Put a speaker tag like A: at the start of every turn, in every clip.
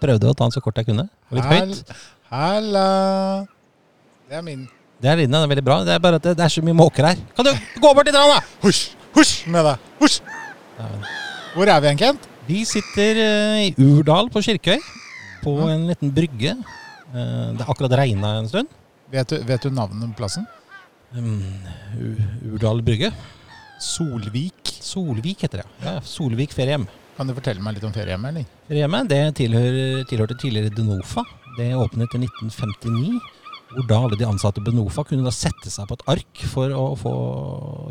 A: prøvde å ta den så kort jeg kunne. og Litt høyt.
B: Hall- Halla. Det er min.
A: Det er lyden av den er veldig bra. Det er bare at det, det er så mye måker her. Kan du gå bort litt, grann, da?
B: Husj, husj med deg. Husj. Hvor er vi igjen, Kent?
A: Vi sitter eh, i Urdal på Kirkøy, på en liten brygge. Eh, Det har akkurat regna en stund.
B: Vet du, vet du navnet på plassen?
A: Mm, U- Urdal brygge.
B: Solvik.
A: Solvik heter det. ja. Ja, Solvik feriehjem.
B: Kan du fortelle meg litt om feriehjemmet, eller?
A: Feriehjemmet det tilhører, tilhørte tidligere Denofa. Det åpnet i 1959, hvor da alle de ansatte på Denofa kunne da sette seg på et ark for å få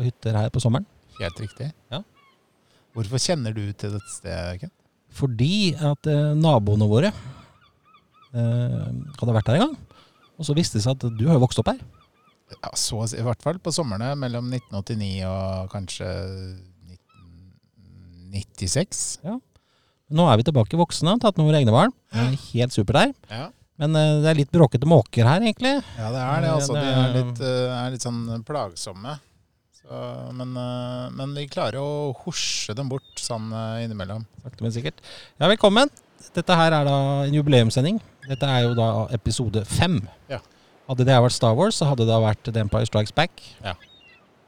A: hytter her på sommeren.
B: Helt riktig.
A: Ja.
B: Hvorfor kjenner du til dette stedet, Kent?
A: Fordi at eh, naboene våre eh, hadde vært her en gang. Og så viste det seg at du har jo vokst opp her.
B: Ja, så å si, I hvert fall på somrene mellom 1989 og kanskje 1996.
A: Nå er vi tilbake voksne, tatt med våre egne barn. Det er Helt super der.
B: Ja.
A: Men eh, det er litt bråkete måker her, egentlig.
B: Ja, det er det. Altså,
A: Det
B: de er
A: er-
B: litt, eh, er litt sånn plagsomme. Så, men, eh, men vi klarer å hosje dem bort sånn eh, innimellom.
A: Sakte, men sikkert. Ja, velkommen. Dette her er da en jubileumssending. Dette er jo da episode fem.
B: Ja.
A: Hadde det vært Star Wars, så hadde det da vært The Empire Strikes Back.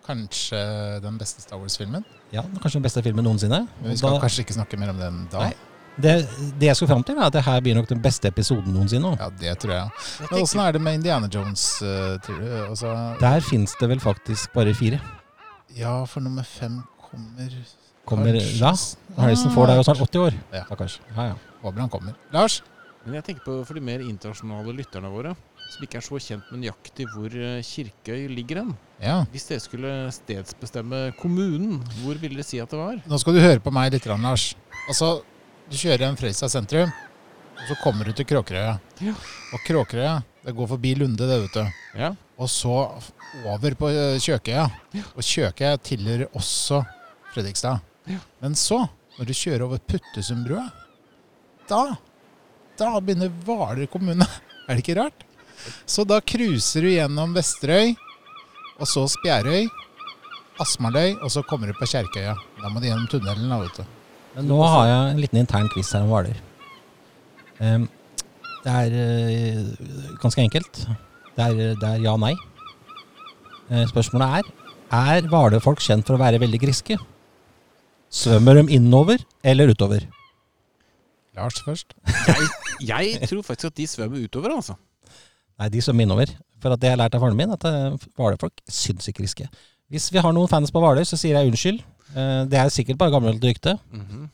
B: Kanskje den beste Star Wars-filmen.
A: Ja, Kanskje den beste filmen noensinne.
B: Men vi
A: Og
B: skal
A: da,
B: kanskje ikke snakke mer om den da.
A: Nei. det, det jeg skulle fram til, er at det her blir nok den beste episoden noensinne.
B: Ja, det tror jeg. Men åssen er det med Indiana Jones? eh, tror du? Altså,
A: Der fins det vel faktisk bare fire.
B: ja, for nummer fem kommer
A: Kommer
B: Kanskje.
A: da? Harrison Ford er jo snart 80 år.
B: Ja.
A: kanskje. Ja, ja.
B: Håper han kommer. Lars?
C: Men jeg tenker på for de mer internasjonale lytterne våre, som ikke er så kjent med nøyaktig hvor eh, Kirkøy ligger hen.
B: Ja.
C: Hvis dere skulle stedsbestemme kommunen, hvor ville dere si at det var?
B: Nå skal du høre på meg litt, grann, Lars. Altså, du kjører gjennom Fredrikstad sentrum, og så kommer du til Kråkerøya.
C: Ja.
B: Og Kråkerøya, det går forbi Lunde, det, vet du.
C: Ja.
B: Og så f- over på eh, Kjøkøya. Og Kjøkøya tilhører også Fredrikstad.
C: Ja.
B: Men så, når du kjører over Puttesundbrua, da, da begynner Hvaler kommune. Er det ikke rart? Så da cruiser du gjennom Vesterøy, og så Spjærøy, Asmaløy, og så kommer du på Kjerkøya. Da må du gjennom tunnelen, da, vet du.
A: Men nå har jeg en liten intern quiz her om Hvaler. Ehm, det er eh, ganske enkelt. Det er, det er ja-nei. spørsmålet er Er hvalerfolk kjent for å være veldig griske? Svømmer de innover eller utover?
B: Lars først.
C: Jeg, jeg tror faktisk at de svømmer utover, altså.
A: Nei, de svømmer innover. For at det jeg har lært av faren min, at eh, hvalerfolk syns ikke griske. Hvis vi har noen fans på Hvaler, så sier jeg unnskyld. Eh, det er sikkert bare gammelt rykte.
C: Mhm.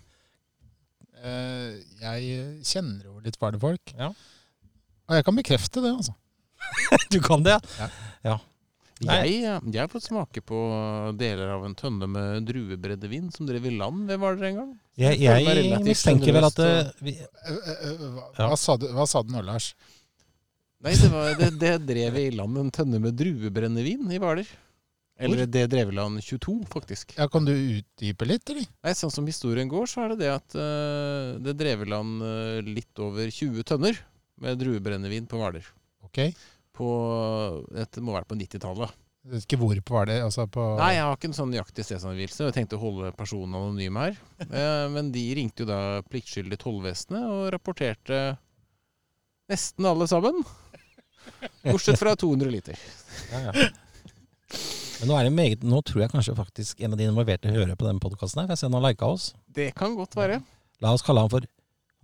B: Eh, jeg kjenner jo litt hvalerfolk.
A: Ja.
B: Og jeg kan bekrefte det, altså.
A: Du kan det? Nei.
C: Jeg, eh, jeg har fått smake på deler av en tønne med druebrennevin som drev i land ved Hvaler en gang.
A: Jeg,
C: Det er
A: jeg
C: relativt
A: mistenker vel at
C: generøst,
A: eh, vi,
B: Eh, eh, eh, hva,
A: Ja.
B: hva, sa du, hva sa du nå, Lars?
C: Nei, det, var, det, det drev i land en tønne med druebrennevin i Hvaler. Eller det drev i land 22, faktisk.
B: Ja, kan du utdype litt, eller?
C: Nei, sånn som historien går, så er det det at eh, det drev i land eh, litt over 20 tønner med druebrennevin på Hvaler.
B: Ok.
C: På, dette må være på 90-tallet.
B: Jeg vet ikke hvor på Hvaler. Altså på
C: Nei, jeg har ikke en sånn nøyaktig stedsangivelse. og Jeg tenkte å holde personen anonym her. Eh, men de ringte jo da pliktskyldig tollvesenet og rapporterte nesten alle sammen. Bortsett fra 200 liter.
A: Men nå, er det meget, nå tror jeg kanskje faktisk en av de involverte hører på denne podkasten her. For jeg ser han har lika oss.
C: Det kan godt være.
A: La oss kalle han for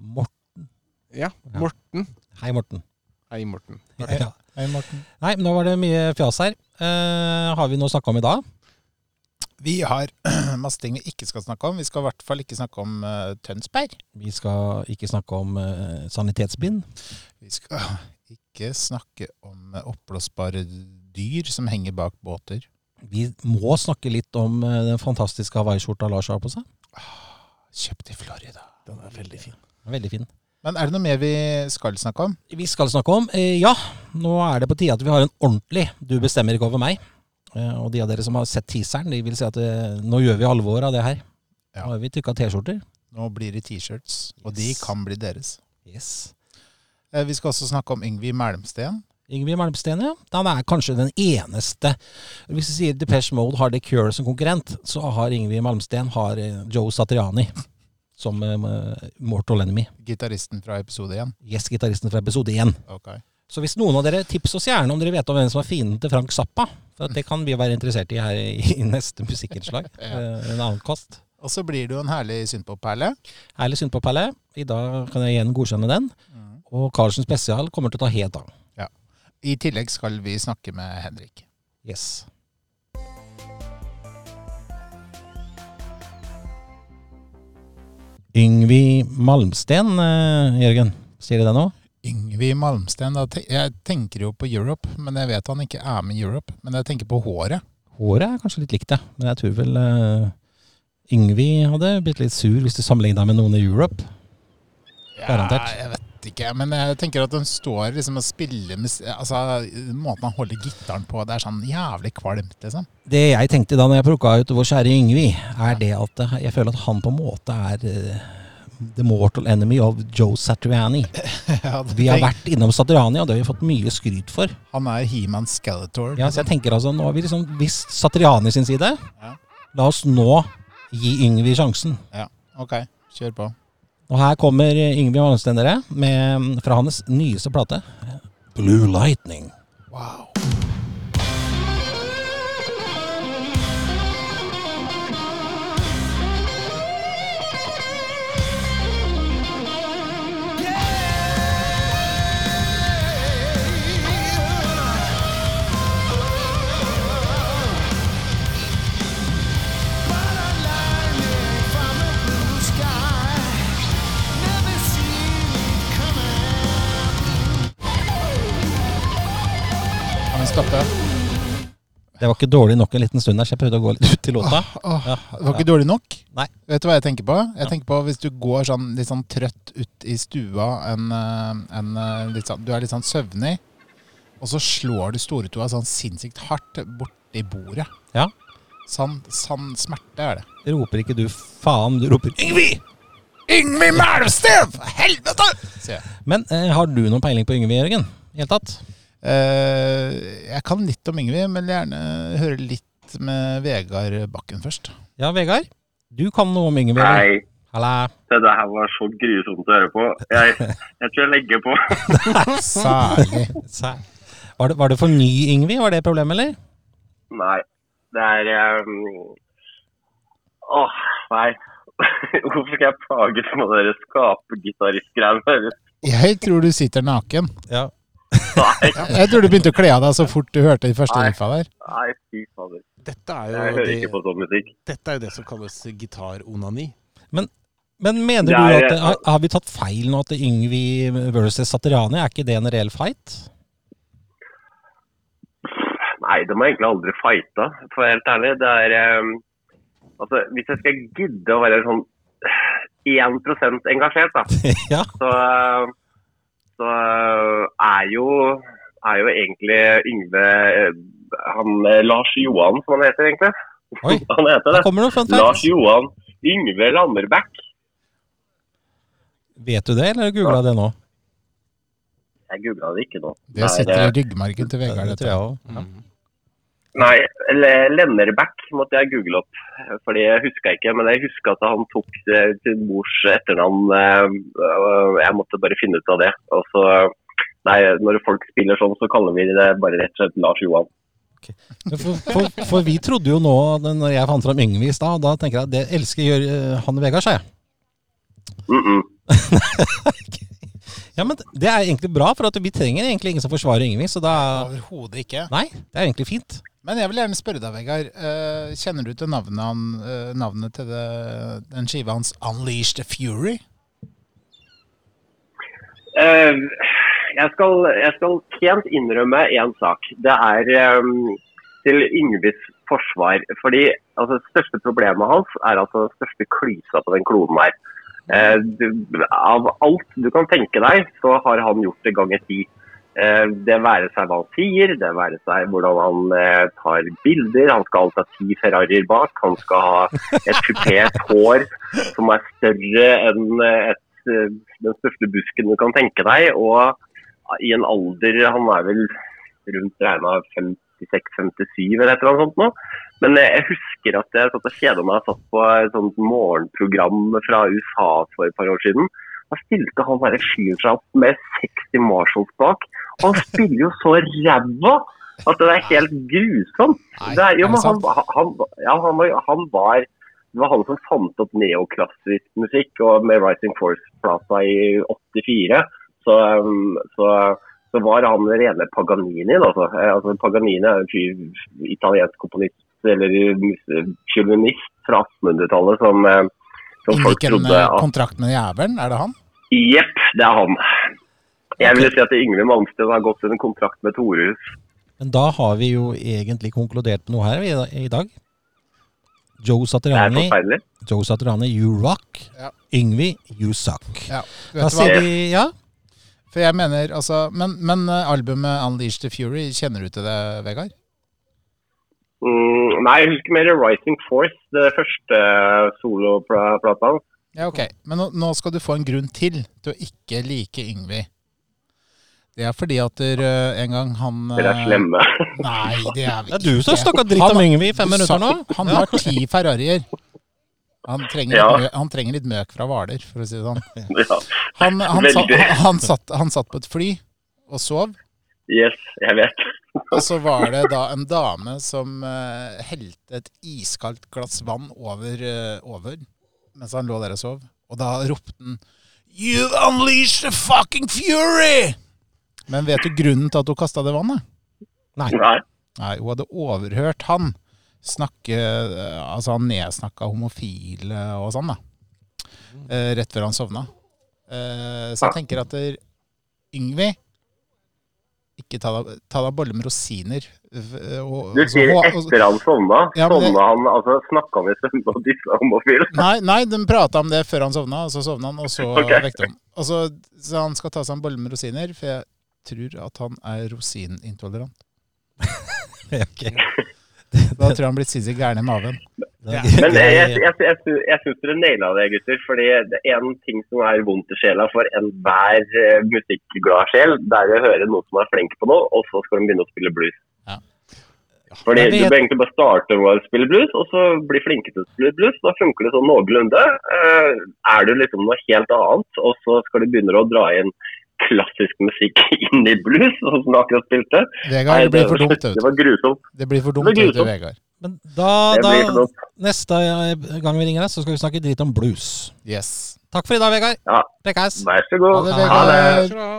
A: Morten.
C: Ja.
A: Ja.
C: Morten.
A: Hei, Morten.
C: Hei, Morten.
A: Ja.
B: Hei, Morten.
A: Nei, men nå var det mye fjas her. Eh, har vi noe å snakke om i dag?
B: Vi har masse ting vi ikke skal snakke om. Vi skal i hvert fall ikke snakke om eh, Tønsberg.
A: Vi skal ikke snakke om eh, sanitetsbind.
B: Vi skal ikke snakke om eh, oppblåsbare dyr som henger bak båter.
A: Vi må snakke litt om eh, den fantastiske hawaiiskjorta Lars har på seg.
B: Kjøpt i Florida.
C: Den er veldig fin.
A: Veldig fin.
B: Men er det noe mer vi skal snakke om?
A: Vi skal snakke om eh, Ja, nå er det på tide at vi har en ordentlig Du bestemmer ikke over meg. Eh, og de av dere som har sett teaseren, de vil si at eh, nå gjør vi alvor av det her.
B: Ja.
A: Nå har vi trykka T-skjorter.
B: Nå blir det T-shirts, og de
A: Yes.
B: kan bli deres.
A: Yes.
B: Eh, Vi skal også snakke om Yngvi Mælmsten.
A: Yngve Malmsteen, ja. Han er kanskje den eneste Hvis du sier Depeche Mode har The Cure som konkurrent, så har Yngve Malmsteen har eh, Joe Satriani som eh, Mortal Enemy.
B: Gitaristen fra episode én.
A: Yes, gitaristen fra episode 1.
B: Ok.
A: Så hvis noen av dere tips oss gjerne om dere vet om hvem som er fienden til Frank Zappa, for at det kan vi være interessert i her i, i neste musikkinnslag.
B: Ja.
A: eh, En annen kast.
B: Og så blir det jo en herlig synpop-perle.
A: Herlig synd på Pelle. I dag kan jeg igjen godkjenne den. Og Carlsen spesial kommer til å ta helt av.
B: I tillegg skal vi snakke med Henrik.
A: Yes. Yngvi Malmsten, eh, Jørgen. Sier de det nå?
B: Yngvi Malmsten. Da, te- jeg tenker jo på Europe, men jeg vet han ikke er med i Europe. Men jeg tenker på håret.
A: Håret er kanskje litt likt, det. Men jeg tror vel eh, Yngvi hadde blitt litt sur hvis du sammenligna med noen i Europe. Garantert.
B: Ja, jeg vet ikke, men jeg tenker at han står liksom og spiller mus- altså, Måten han holder gitaren på, det er sånn jævlig kvalmt, liksom.
A: Det jeg tenkte da når jeg plukka ut vår kjære Yngvi, er det at det- jeg føler at han på en måte er eh, the mortal enemy of Joe Satriani.
B: Ja, det-
A: Vi har vært innom Satriani, og det har vi fått mye skryt for.
B: Han er He-Man Skeletor.
A: Ja, så jeg tenker altså, nå har vi liksom visst Satriani sin side.
B: Ja.
A: La oss nå gi Yngvi sjansen.
B: Ok, kjør på.
A: Og her kommer Yngvi Malmsten, dere, med- fra hans nyeste plate. Blue Lightning.
B: Wow. Kan vi stoppe?
A: Det var ikke dårlig nok en liten stund der, så jeg prøvde å gå litt ut i låta.
B: Åh,
A: Ja,
B: det var ikke dårlig nok.
A: Nei.
B: Vet du hva jeg tenker på? Jeg tenker på Hvis du går sånn, litt sånn trøtt ut i stua, en, eh, en, eh, litt sånn, du er litt sånn søvnig, og så slår du stortåa sånn sinnssykt hardt borti bordet.
A: Ja.
B: Sann, sann smerte er det.
A: Roper ikke du faen, du roper Yngvi!
B: Yngvi Mælvstev! Helvete! sier jeg.
A: Men eh, har du noen peiling på Yngvi, Jørgen? I hele tatt?
B: Eh, jeg kan litt om Yngvi, men vil gjerne høre litt med Vegard Bakken først.
A: Ja, Vegard? Du kan noe om Yngvi? eller?
D: Nei,
A: Halla.
D: det her var så grusomt å høre på. Jeg, jeg tror jeg legger på.
B: Særlig.
A: Sær. Var det, var det for ny Yngvi? Var det problemet, eller?
D: Nei, det er um... Åh, nei. Hvorfor skal jeg plages med dere skapergitaristgreiene?
B: Jeg tror du sitter naken.
A: Ja.
D: Nei,
B: Jeg tror du begynte å kle av deg så fort du hørte de første
D: Nei.
B: riffa der.
D: nei, fy fader.
C: Dette er
D: Jeg
C: jo
D: hører
C: det,
D: ikke på sånn musikk.
C: dette er jo det som kalles gitaronani.
A: Men mener
D: Nei,
A: du at
D: jeg-
A: har, har vi tatt feil nå at Yngvi versus Satriani, er ikke det en reell fight?
D: Nei, de har egentlig aldri fighta, for å være helt ærlig. Det er um... Altså, hvis jeg skal gidde å være sånn 1 engasjert, da,
A: ja.
D: så, eh, så eh, er jo er jo egentlig Yngve eh, han eh, Lars Johan, som han heter egentlig.
A: Oi.
D: Han heter
A: Da
D: det.
A: kommer det noen fun
D: Lars
A: facts.
D: Johan Yngve Landerbæk.
A: Vet du det, eller googla det nå?
D: Jeg googla det ikke nå.
B: Det sitter i ryggmargen til Vegard.
A: Det
B: dette.
A: tror jeg også.
C: Mm.
D: Nei, eller Lennerbæk måtte jeg google opp. Fordi jeg huska ikke, men jeg huska at han tok eh, sin mors etternavn. eh, og Jeg måtte bare finne ut av det. Og så, eh, nei, når folk spiller sånn, så kaller vi det bare rett og slett Lars Johan.
A: Men For, for, for vi trodde jo nå, når jeg fant fram Yngvi i stad, da tenker jeg at det elsker gjør eh, han Vegard seg.
D: Mm -mm.
A: Ja, men det er egentlig bra, for at vi trenger egentlig ingen som forsvarer Yngvi, så da
B: Overhodet ikke.
A: Nei, det er egentlig fint.
B: Men jeg vil gjerne spørre deg, Vegard. eh, kjenner du til navnet, han, eh, navnet til det, den skiva hans 'Unleash the Fury'?
D: Eh, jeg, skal, jeg skal pent innrømme én sak. Det er eh, til Yngves forsvar. Fordi altså, det største problemet hans er altså den største klysa på den kloden her. Eh, du, av alt du kan tenke deg, så har han gjort det ganger ti. Eh, det være seg hva han sier, det være seg hvordan han eh, tar bilder. Han skal alltid ha ti Ferrarier bak. Han skal ha et kupert hår som er større enn eh, et eh, den største busken du kan tenke deg. Og i en alder Han er vel rundt regna 56-57 eller et eller annet sånt nå. Men eh, jeg husker at jeg satt og kjeda meg. Jeg satt på et sånt morgenprogram fra USA for et par år siden. Da stilte han bare fyren seg opp med 60 Marshalls bak. Og han spiller jo så ræva at det er helt grusomt.
B: Nei,
D: det er, jo,
B: er
D: men
B: det
D: han,
B: sant?
D: han, ja, han, var, han var Det var han som fant opp neoklassisk musikk og med Rising Force-plata i 84. Så, um, så, så var han den rene Paganini. da, Altså. Eh, altså Paganini er en fyr, italiensk komponist eller mus- fiolinist fra 1800-tallet som, eh, som folk
B: Inngikk en
D: trodde
B: eh,
D: at
B: kontrakt med jævelen, er det han?
D: Jepp, det er han. Jeg vil si at Yngve Malmsteen har gått under kontrakt med Torehus.
A: Men da har vi jo egentlig konkludert på noe her i da- i dag. Joe
D: Det er
A: Satriani,
D: forferdelig.
A: Joe Satriani, you rock.
B: Ja.
A: Yngvi, you suck.
B: Ja.
A: Da
B: Vet du hva?
A: sier vi ja.
B: For jeg mener, altså, men, men eh, albumet Unleash the Fury, kjenner du til det, Vegard?
D: Mm, nei, jeg husker mer Rising Force, det første eh, soloplata.
B: Ja, ok. Men nå, nå skal du få en grunn til til å ikke like Yngvi. Det er fordi at der, eh, en gang han eh,
D: Dere er slemme.
B: Nei, det er vi
A: Det er du som
B: ikke.
A: snakka dritt
B: Han-
A: om Yngvi i fem
B: du sa-
A: minutter nå.
B: Han har ti Ferrarier. Han trenger,
D: Ja.
B: litt mø- han trenger litt møk fra Hvaler, for å si det sånn.
D: ja.
B: Han, han, sa,
D: Veldig.
B: han, han, satt, han satt på et fly og sov.
D: Yes, jeg vet.
B: Og så var det da en dame som eh, helte et iskaldt glass vann over, eh, over mens han lå der og sov. Og da ropte han You unleash the fucking fury! Men vet du grunnen til at hun kasta det vannet?
D: Nei.
B: Nei, hun hadde overhørt han snakke eh, Altså, han nedsnakka homofile og sånn, da. Eh, rett før han sovna. Eh, så jeg tenker at der, Yngvi Ikke ta deg ta deg en bolle med rosiner. eh, Og,
D: Du
B: og så
D: sier
B: hå- og-
D: etter han sovna.
B: Ja, men det-
D: Sovna han, altså snakka han i søvne og dissa homofil?
B: Nei, nei, de prata om det før han sovna, og så sovna han, og så
D: Ok.
B: vekte han. Og så, så han skal ta seg en bolle med rosiner, for jeg tror at han er rosinintolerant.
A: Ok.
B: Da tror jeg han blir sinnssykt gæren i maven.
A: Det er
D: Men jeg, jeg,
A: grei-
D: jeg, jeg, sy- jeg syns dere naila det, gutter. fordi det er en ting som er vondt i sjela for enhver eh, musikkglad sjel, det er å høre noen som er flink på noe, og så skal de begynne å spille blues.
B: Ja.
D: Fordi
A: Jeg vet-
D: Du bør egentlig bare starte med å spille blues, og så bli flinke til å spille blues. Da funker det sånn noenlunde. Eh, Er du liksom noe helt annet, og så skal du begynne å dra inn klassisk musikk inn i blues, sånn som du akkurat spilte.
B: Vegard, det blir for dumt,
D: det
B: vet du.
D: var grusomt.
B: Det blir for
D: det
B: dumt,
D: blir
B: vet du,
D: grusomt.
B: Vegard.
A: Men da,
D: Det blir for
A: da
D: dumt.
A: Neste eh, gang vi ringer deg, så skal vi snakke dritt om blues.
B: Yes.
A: Takk for i dag, Vegard.
D: Ja.
A: Prekkeis.
D: Vær så god.
B: Ha det,
A: Ha
B: Vegard.
C: Takk skal du ha.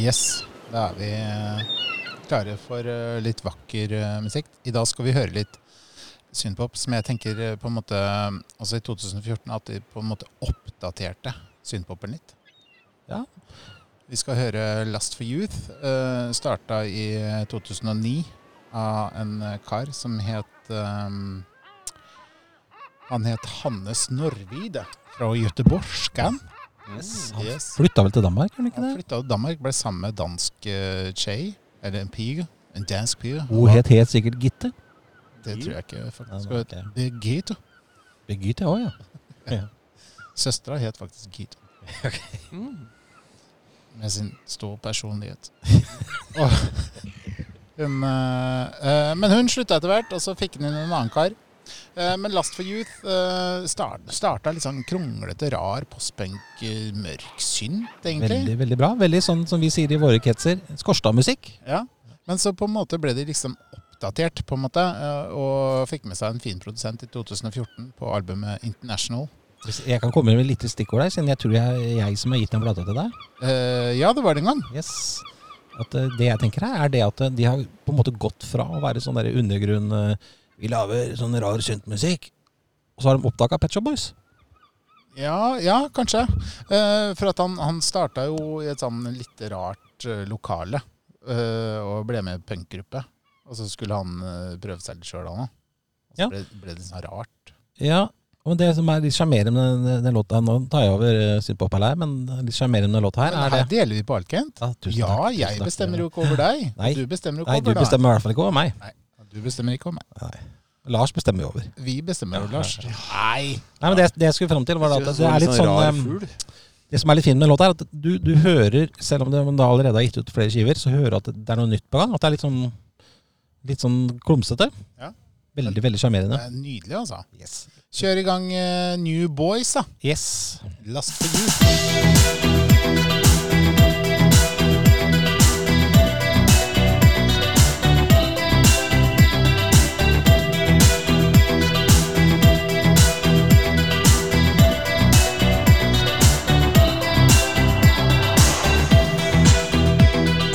B: Yes, da er vi eh, klare for eh, litt vakker eh, musikk. I dag skal vi høre litt synpop, som jeg tenker eh, på en måte eh, Altså i 2014 at de på en måte oppdaterte synpopen litt.
A: Ja.
B: Vi skal høre Last for Youth. Uh, starta i 2009 av en eh, kar som het eh, Han het Hannes Norvid fra Göteborgskan.
A: Han flytta vel til Danmark, gjorde han
B: Han
A: ikke det?
B: flytta til Danmark, ble sammen med dansk uh, tjei, eller en pige. En dansk pige.
A: Hun het helt sikkert Gitte.
B: Det tror jeg ikke, faktisk.
A: Nei,
B: Hun
A: det
B: het
A: var ikke.
B: Birgitte.
A: Birgitte òg, ja.
B: Søstera het faktisk Gito. Mm. Med sin store personlighet. Og hun, eh, eh, men hun slutta etter hvert, og så fikk hun inn en annen kar. Eh, men Last for Youth uh, start, starta litt sånn kronglete, rar postpunk, eh, mørk synt, egentlig.
A: Veldig veldig bra. Veldig sånn som vi sier i våre kretser, Skorstadmusikk.
B: Ja, men så på en måte ble de liksom oppdatert, på en måte, eh, og fikk med seg en fin produsent i 2014 på albumet International.
A: Hvis Jeg kan komme med et lite stikkord der, siden jeg tror jeg, jeg som har gitt den plata til deg.
B: Eh, ja, det var det en gang.
A: Yes. At eh, Det jeg tenker her, er det at eh, de har på en måte gått fra å være sånn der undergrunn eh, Vi lager sånn rar syntmusikk. Og så har de oppdaga Pet Shop Boys.
B: Ja, ja kanskje. Eh, for at han, han starta jo i et sånn litt rart eh, lokale, eh, og ble med i punkgruppe. Og så skulle han eh, prøve seg litt sjøl, han òg. Og så
A: Ja.
B: ble, ble det litt sånn rart.
A: Ja, Ja, Men det som er litt sjarmerende med den, den låta Nå tar jeg over eh, synthpop her, men litt sjarmerende med den låta her
B: Men
A: er
B: her
A: det
B: deler vi på Alkent.
A: Ja, tusen
B: Ja,
A: takk, tusen
B: jeg
A: takk.
B: bestemmer jo ikke over deg.
A: Nei.
B: Og du bestemmer jo
A: Nei,
B: ikke
A: du
B: over deg.
A: bestemmer i hvert fall ikke over meg.
B: Du bestemmer ikke over meg.
A: Nei. Lars bestemmer jo over. Nei,
B: Vi bestemmer over Lars. Nei!
A: men det, det jeg skulle fram til, var at det, det er litt sånn
C: rar
A: em,
C: fugl.
A: Det som er litt fint med den låta, er at du, du hører, selv om det- om det allerede har gitt ut flere skiver, så hører du at det er noe nytt på gang. At det er litt sånn, litt sånn klumsete.
B: Ja.
A: Veldig, veldig sjarmerende.
B: Det er nydelig, altså.
A: Yes.
B: Kjør i gang eh, New Boys, da.
A: yes.
B: Last for you.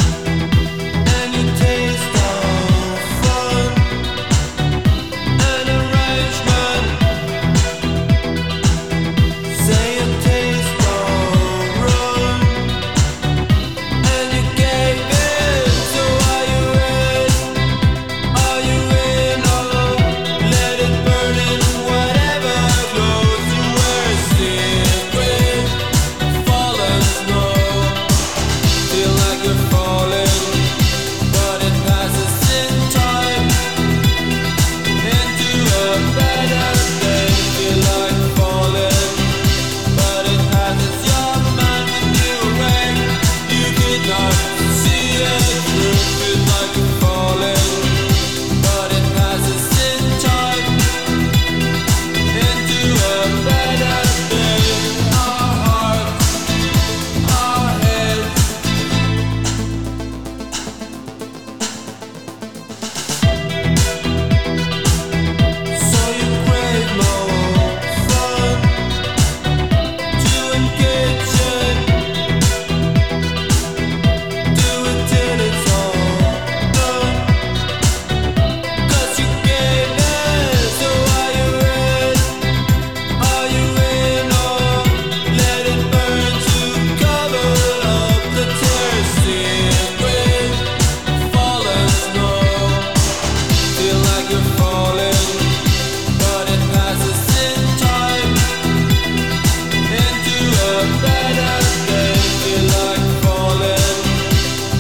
E: And you taste all fun and arrangement Say you taste all wrong And you gave in So are you in? Are you in all? Let it burn in whatever clothes you were still with Fallen snow Feel like you're falling but it passes in time into a better day. Feel like falling, but it passes your mind when you awake. You could not see it through. Feel like you're falling, but it passes in time into a better day. Our hearts, our heads. So you crave more fun to engage in. Do it till it's all done. 'Cause you gave in, so are you in? Are you in or let it burn to cover up the tears with fallen snow? Feel like you're falling, but it passes in time into a better day. Feel like falling,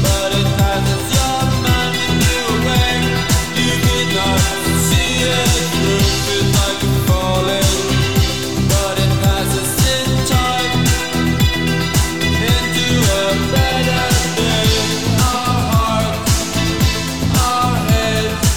E: but it passes your mind when you awake. You could not see it through. Feel like you're falling, but it passes in time into a better day. Our hearts, our heads.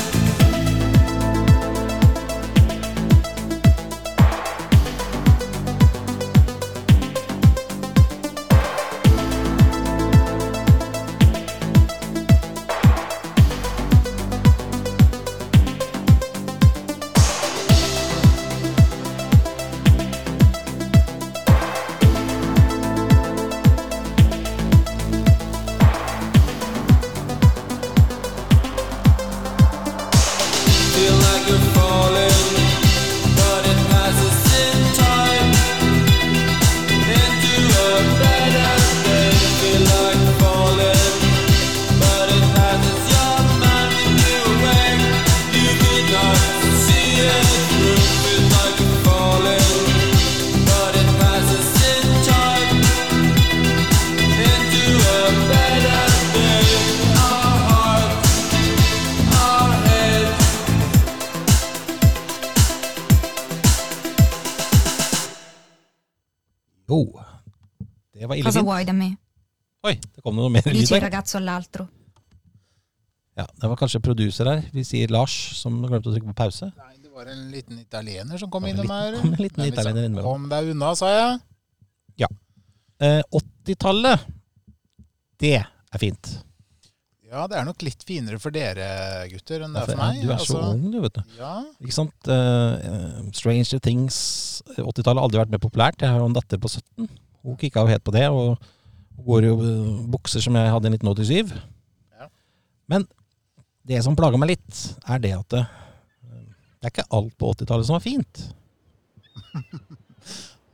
E: Feel like you're falling, but it passes in time into a better day. Feel like falling, but it passes your mind when you awake. You could not see it through. Feel like you're falling, but it passes in time into a better day. Our hearts, our heads.
A: Jo. Det var ille
F: Cosa
A: fint.
F: vuoi da me?
A: Oi, det kom det noe mer lyd
F: Dici il
A: der.
F: ragazzo all'altro.
A: Ja, det var kanskje produser her. Vi sier Lars, som glemte å trykke på pause.
B: Nei, det var en liten italiener som kom
A: Det var en
B: innom
A: liten-
B: her.
A: kom en liten
B: Men vi sa,
A: italiener innimellom.
B: Kom deg unna, sa jeg.
A: Eh, 80-tallet, det er fint.
B: Ja, det er nok litt finere for dere gutter enn det er
A: Derfor-
B: for meg.
A: Du er så
B: altså.
A: ung, du, vet du.
B: Ja,
A: Ikke sant? Eh, Stranger Things 80-tallet har aldri vært mer populært. Jeg har jo en datter på 17. Hun kicka jo helt på det, og hun går jo eh, bukser som jeg hadde i 1987.
B: Ja.
A: Men det som plager meg litt, er det at det, det er ikke alt på 80-tallet som var fint.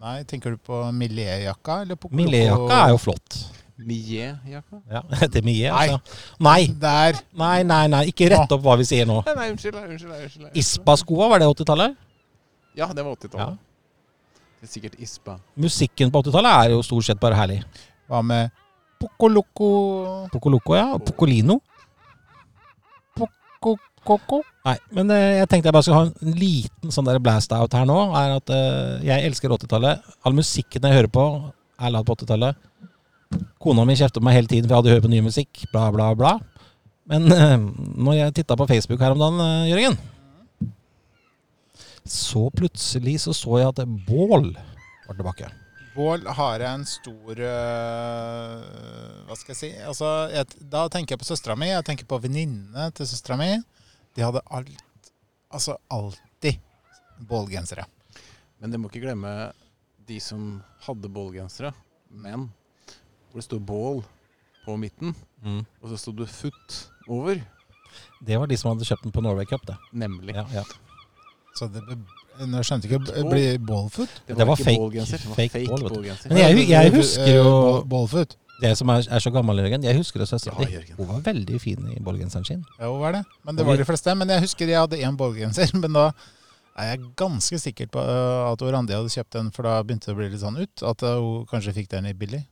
B: Nei, tenker du på Millet-jakka? eller på
A: Milletjakka er jo flott.
C: Millet-jakka?
A: Ja, det er mye, altså. Nei,
B: Der!
A: nei, nei, nei, ikke rett opp hva vi sier nå.
C: Nei, nei, unnskyld. nei, unnskyld, nei, unnskyld, nei, unnskyld.
A: Ispa-skoa, var det 80-tallet?
C: Ja, det var 80-tallet. Det er sikkert ispa.
A: Musikken på 80-tallet er jo stort sett bare herlig.
B: Hva med Pokoloko
A: Poco Loco, ja. og Pocolino.
B: Koko?
A: Nei, men eh, jeg tenkte jeg bare skulle ha en liten sånn der blast out her nå. Er at eh, jeg elsker 80-tallet. All musikken jeg hører på, er lagd på 80-tallet. Kona mi kjefter på meg hele tiden, for jeg hadde hørt på ny musikk. Bla, bla, bla. Men eh, når jeg titta på Facebook her om dagen, eh, Jørgen Så plutselig så så jeg at Bål var tilbake.
B: Bål har jeg en stor øh, Hva skal jeg si? Altså, jeg, da tenker jeg på søstera mi. Jeg tenker på venninnene til søstera mi. De hadde alt Altså alltid bålgensere.
C: Men dere må ikke glemme de som hadde bålgensere, men hvor det sto bål på midten,
A: Mm.
C: og så sto det foot over.
A: Det var de som hadde kjøpt den på Norway Cup, det.
C: Nemlig.
A: Ja, ja.
B: Så det ble, nå skjønte jeg ikke Blir bålfoot?
A: Det var
C: ikke
A: fake-
C: bålgenser, det var
A: fake
C: fake,
A: bål, vet du.
C: bålgenser.
A: Men jeg- jeg husker jo-
B: Eh, Bålfoot.
A: Det som er, er så gammel, Jørgen. Jeg husker det søstera
C: Ja,
A: di.
C: Jørgen.
A: Hun var veldig fin i bålgenseren sin.
B: Jo, hva er det? Men det var de fleste. Men jeg husker jeg hadde én bålgenser. Men da er jeg ganske sikker på øh, at hun Randi hadde kjøpt den, for da begynte det å bli litt sånn ut. At øh, hun kanskje fikk den i billig.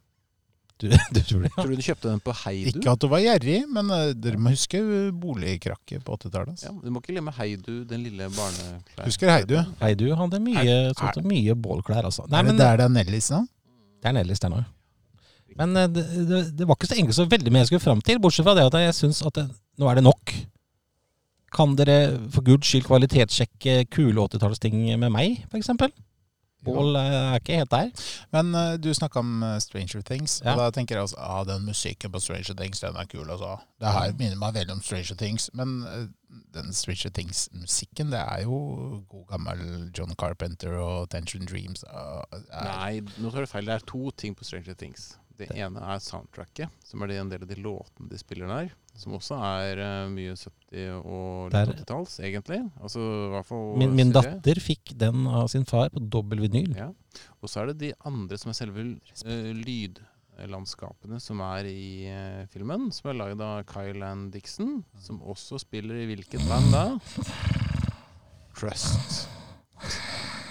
A: Du, du tror det?
C: Tror du du kjøpte den på Heidu?
B: Ikke at hun var gjerrig, men øh, dere må huske øh, boligkrakket på 80-tallet. Altså.
C: Ja, men du må ikke glemme Heidu, den lille barneklær.
B: Husker Heidu?
A: Nei, du hadde mye, sånn, mye bålklær, altså. Nei,
B: er
A: men
B: det der det er Nellis nå?
A: det er Nellis der nå. Men eh, det, det, det var ikke så egentlig så veldig mye jeg skulle fram til, bortsett fra det at jeg syns at det, nå er det nok. Kan dere for guds skyld kvalitetssjekke kule 80-tallsting med meg, f.eks.? Bål eh, er ikke helt der.
B: Men øh, du snakka om øh, Stranger Things,
A: Ja.
B: og da tenker jeg altså ah, den musikken på Stranger Things, den er kul, altså. Det her
A: Mm.
B: minner meg veldig om Stranger Things, men øh, den Stranger Things-musikken, det er jo god gammel John Carpenter og Tension Dreams. ah, er-
C: Nei, nå tar du feil. Det er to ting på Stranger Things. Det ene er soundtracket, som er det en del av de låtene de spiller der. Som også er eh, mye 70- og
A: Der-
C: 80-talls, egentlig. Altså, i hvert fall
A: Min, min
C: serie.
A: datter fikk den av sin far på dobbel vinyl.
C: Ja. Og så er det de andre som er selve eh, lydlandskapene som er i eh, filmen. Som er lagd av Kyle and Dixon, som også spiller i hvilket band da? Trust.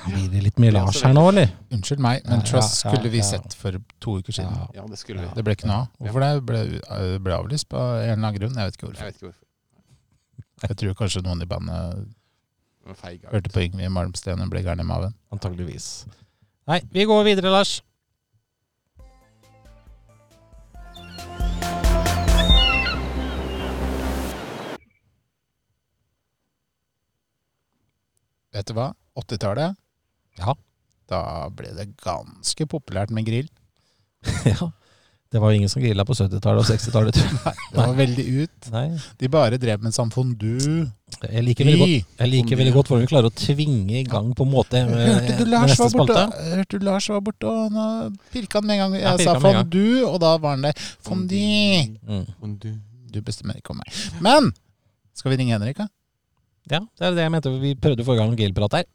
A: Blir det litt mye Lars her nå, eller?
B: Unnskyld meg, men
A: Ja,
B: Trust
A: ja, ja,
B: skulle vi
A: ja.
B: sett for to uker siden.
A: Ja.
C: Ja, det skulle vi.
B: Det ble ikke noe av. Hvorfor det? Ble, øh, ble avlyst på en eller annen grunn? Jeg vet ikke
C: Jeg
B: hvorfor.
C: vet ikke hvorfor.
B: Jeg tror kanskje noen i bandet
C: Det var Feig art.
B: hørte på Yngve Malmsten og ble gæren i maven.
A: Antageligvis. Nei, vi går videre, Lars.
B: Vet du hva? 80-tallet,
A: Ja.
B: da ble det ganske populært med grill.
A: ja. Det var jo ingen som grilla på 70-tallet og 60-tallet. tror jeg.
B: Det var veldig ut.
A: Nei.
B: De bare drev med sånn fondue.
A: Jeg liker veldig godt
B: Hørte
A: Jeg liker veldig godt hvordan vi klarer å tvinge i gang på en måte med,
B: du
A: med
B: Lars
A: Eh, neste
B: var borte?
A: spalte.
B: Hørte du Lars var borte? Og nå pirka han med en gang
A: Ja,
B: jeg
A: pirka
B: sa
A: han med en gang.
B: fondue, og da var han der. Fondue!
A: Mm.
C: Fondue.
B: Du bestemmer ikke om meg. Men skal vi ringe Henrik, da?
A: Ja, det er det jeg mente. Vi prøvde forrige gang grillprat her.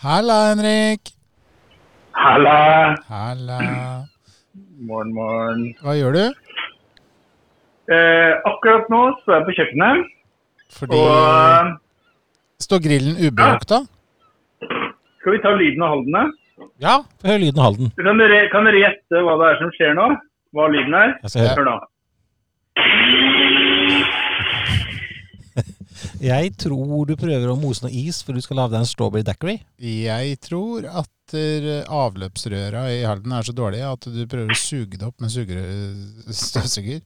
B: Halla, Henrik!
E: Halla!
B: Halla.
E: Morgen, morgen.
B: Hva gjør du?
E: Eh, akkurat nå så er jeg på kjøkkenet,
B: Fordi
E: og eh,
B: Står grillen uberørt, da?
E: skal vi ta lyden av holdene?
A: Ja, få høre lyden av Halden.
E: Kan dere, kan dere gjette hva det er som skjer nå? Hva lyden er?
A: Jeg, skal høre.
E: Hør nå.
A: jeg tror du prøver å mose noe is for du skal lage deg en strawberry daiquiri.
B: Jeg tror at eh, avløpsrøra i Halden er så dårlige at du prøver å suge det opp med sugerø- støvsuger.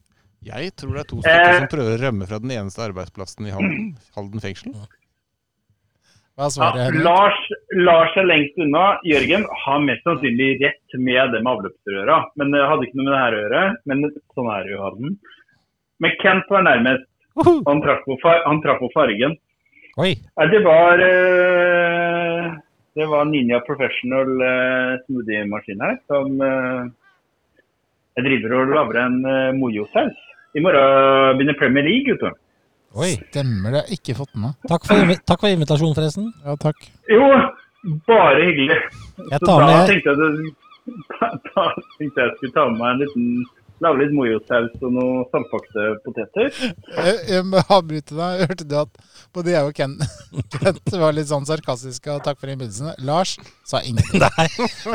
C: Jeg tror det er to stykker
E: Eh.
C: som prøver å rømme fra den eneste arbeidsplassen i Halden, Halden fengsel.
B: Hva er
E: Ja,
B: svaret, Henrik?
E: Lars, Lars er lengst unna. Jørgen har mest sannsynlig rett med det med avløpsrøra. Men det hadde ikke noe med det her å gjøre. Men sånn er det jo, Halden. Men Kent var nærmest.
A: Uhu.
E: Han traff på, far, han traff på fargen.
A: Oi,
E: Nei, det var eh, Det var Ninja Professional eh, smoothie-maskin her som eh, Jeg driver og lager en eh, mojo-saus. I morgen begynner Premier League, vet du.
A: oi.
B: Stemmer det. Ikke fått den med.
A: Takk for, invi- takk for invitasjonen, forresten.
B: Ja, takk.
E: Jo, Bare hyggelig.
A: Jeg
E: Så
A: tar
E: da
A: med
E: tenkte jeg, at- da tenkte jeg jeg skulle ta med meg en liten Lage litt mojosaus og noen saltbakte poteter.
B: Jeg, jeg må avbryte deg. Hørte du at både jeg og Ken, Kent var litt sånn sarkastiske og takk for innbydelsene? Lars sa ingenting.
A: Nei.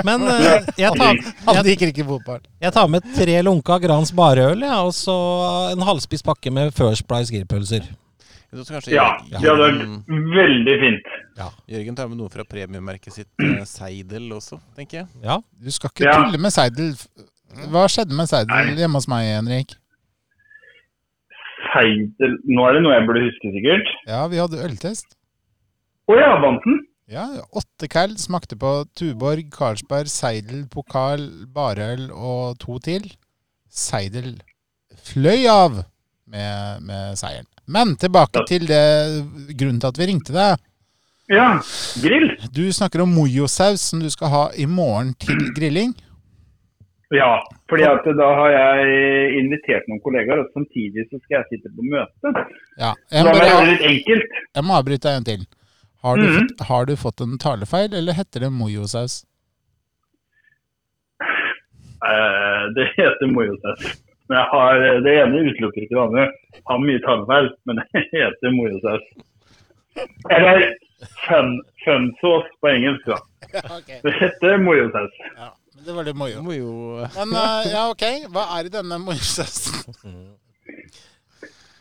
A: Men eh, jeg tar,
B: Han
A: jeg,
B: liker ikke fotball.
A: jeg tar med tre lunka Grans barøl, ja, og så en halvspist pakke med First Price grillpølser.
C: Jeg tror kanskje
E: Ja,
C: Jørgen-
E: det hadde vært veldig fint.
C: Jørgen tar med noe fra premiemerket sitt, eh, Seidel også, tenker jeg.
A: Ja.
B: Du skal ikke
E: Ja.
B: tulle med Seidel. Hva skjedde med Seidel
E: Nei.
B: hjemme hos meg, Henrik?
E: Seidel Nå er det noe jeg burde huske, sikkert.
B: Ja, vi hadde øltest.
E: Å ja, vant den?
B: Ja, Åtte kall smakte på Tuborg, Carlsberg, Seidel, Pokal, Barøl og to til. Seidel fløy av med, med seieren. Men tilbake til det grunnen til at vi ringte deg.
E: Ja. Grill?
B: Du snakker om mojosaus som du skal ha i morgen til grilling.
E: Ja. fordi at da har jeg invitert noen kollegaer, og samtidig så skal jeg sitte på møte.
B: Ja,
E: Da
B: jeg, må
E: må jeg gjøre
B: bare,
E: det litt enkelt.
B: jeg må avbryte deg en til. Har du,
E: Mhm.
B: fått, har du fått en talefeil, eller heter det mojosaus?
E: Eh, Det heter mojosaus. Men jeg har, det ene utelukker ikke det andre. Har mye tannfeil, men det heter mojosaus. Eller fun, fun sauce på engelsk, da. Det heter mojosaus.
B: Ja, men det var litt mojo.
C: Du må jo eh,
B: Men eh, ja, ok. Hva er i denne mojosausen?
E: Eh,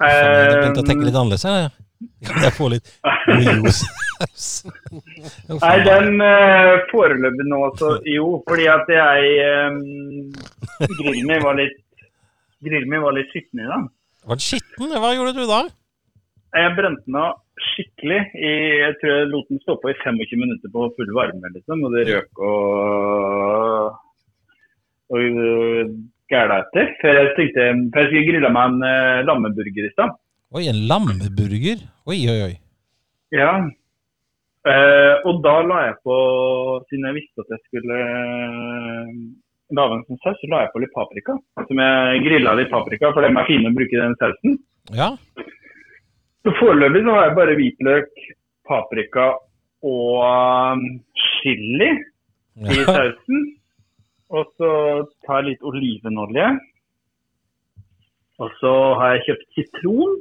A: Faen, Jeg begynte å tenke litt annerledes her. jeg. Kan jeg få litt mojo-saus? Å,
E: Nei,
A: faen.
E: den eh, foreløpig nå så Jo, fordi at jeg eh, Grillen min var litt Grillen min var litt skitten i dag.
A: Var den skitten? Hva gjorde du da?
E: Jeg brente den av skikkelig. I, jeg tror jeg lot den stå på i 25 minutter på full varme, liksom. Og det røk og, og øh, gæla etter. Før jeg tenkte For jeg skulle grille meg en eh, lammeburger i stad.
A: Oi, en lammeburger. Oi, oi, oi.
E: Ja. Eh, og da la jeg på, siden jeg visste at jeg skulle eh, lage en sånn saus, så la jeg på litt paprika. Som jeg grilla litt paprika, for dem er fine å bruke i den sausen.
A: Ja.
E: Så foreløpig så har jeg bare hvitløk, paprika og um, chili i
A: ja.
E: sausen. Og så tar jeg litt olivenolje. Og så har jeg kjøpt sitron.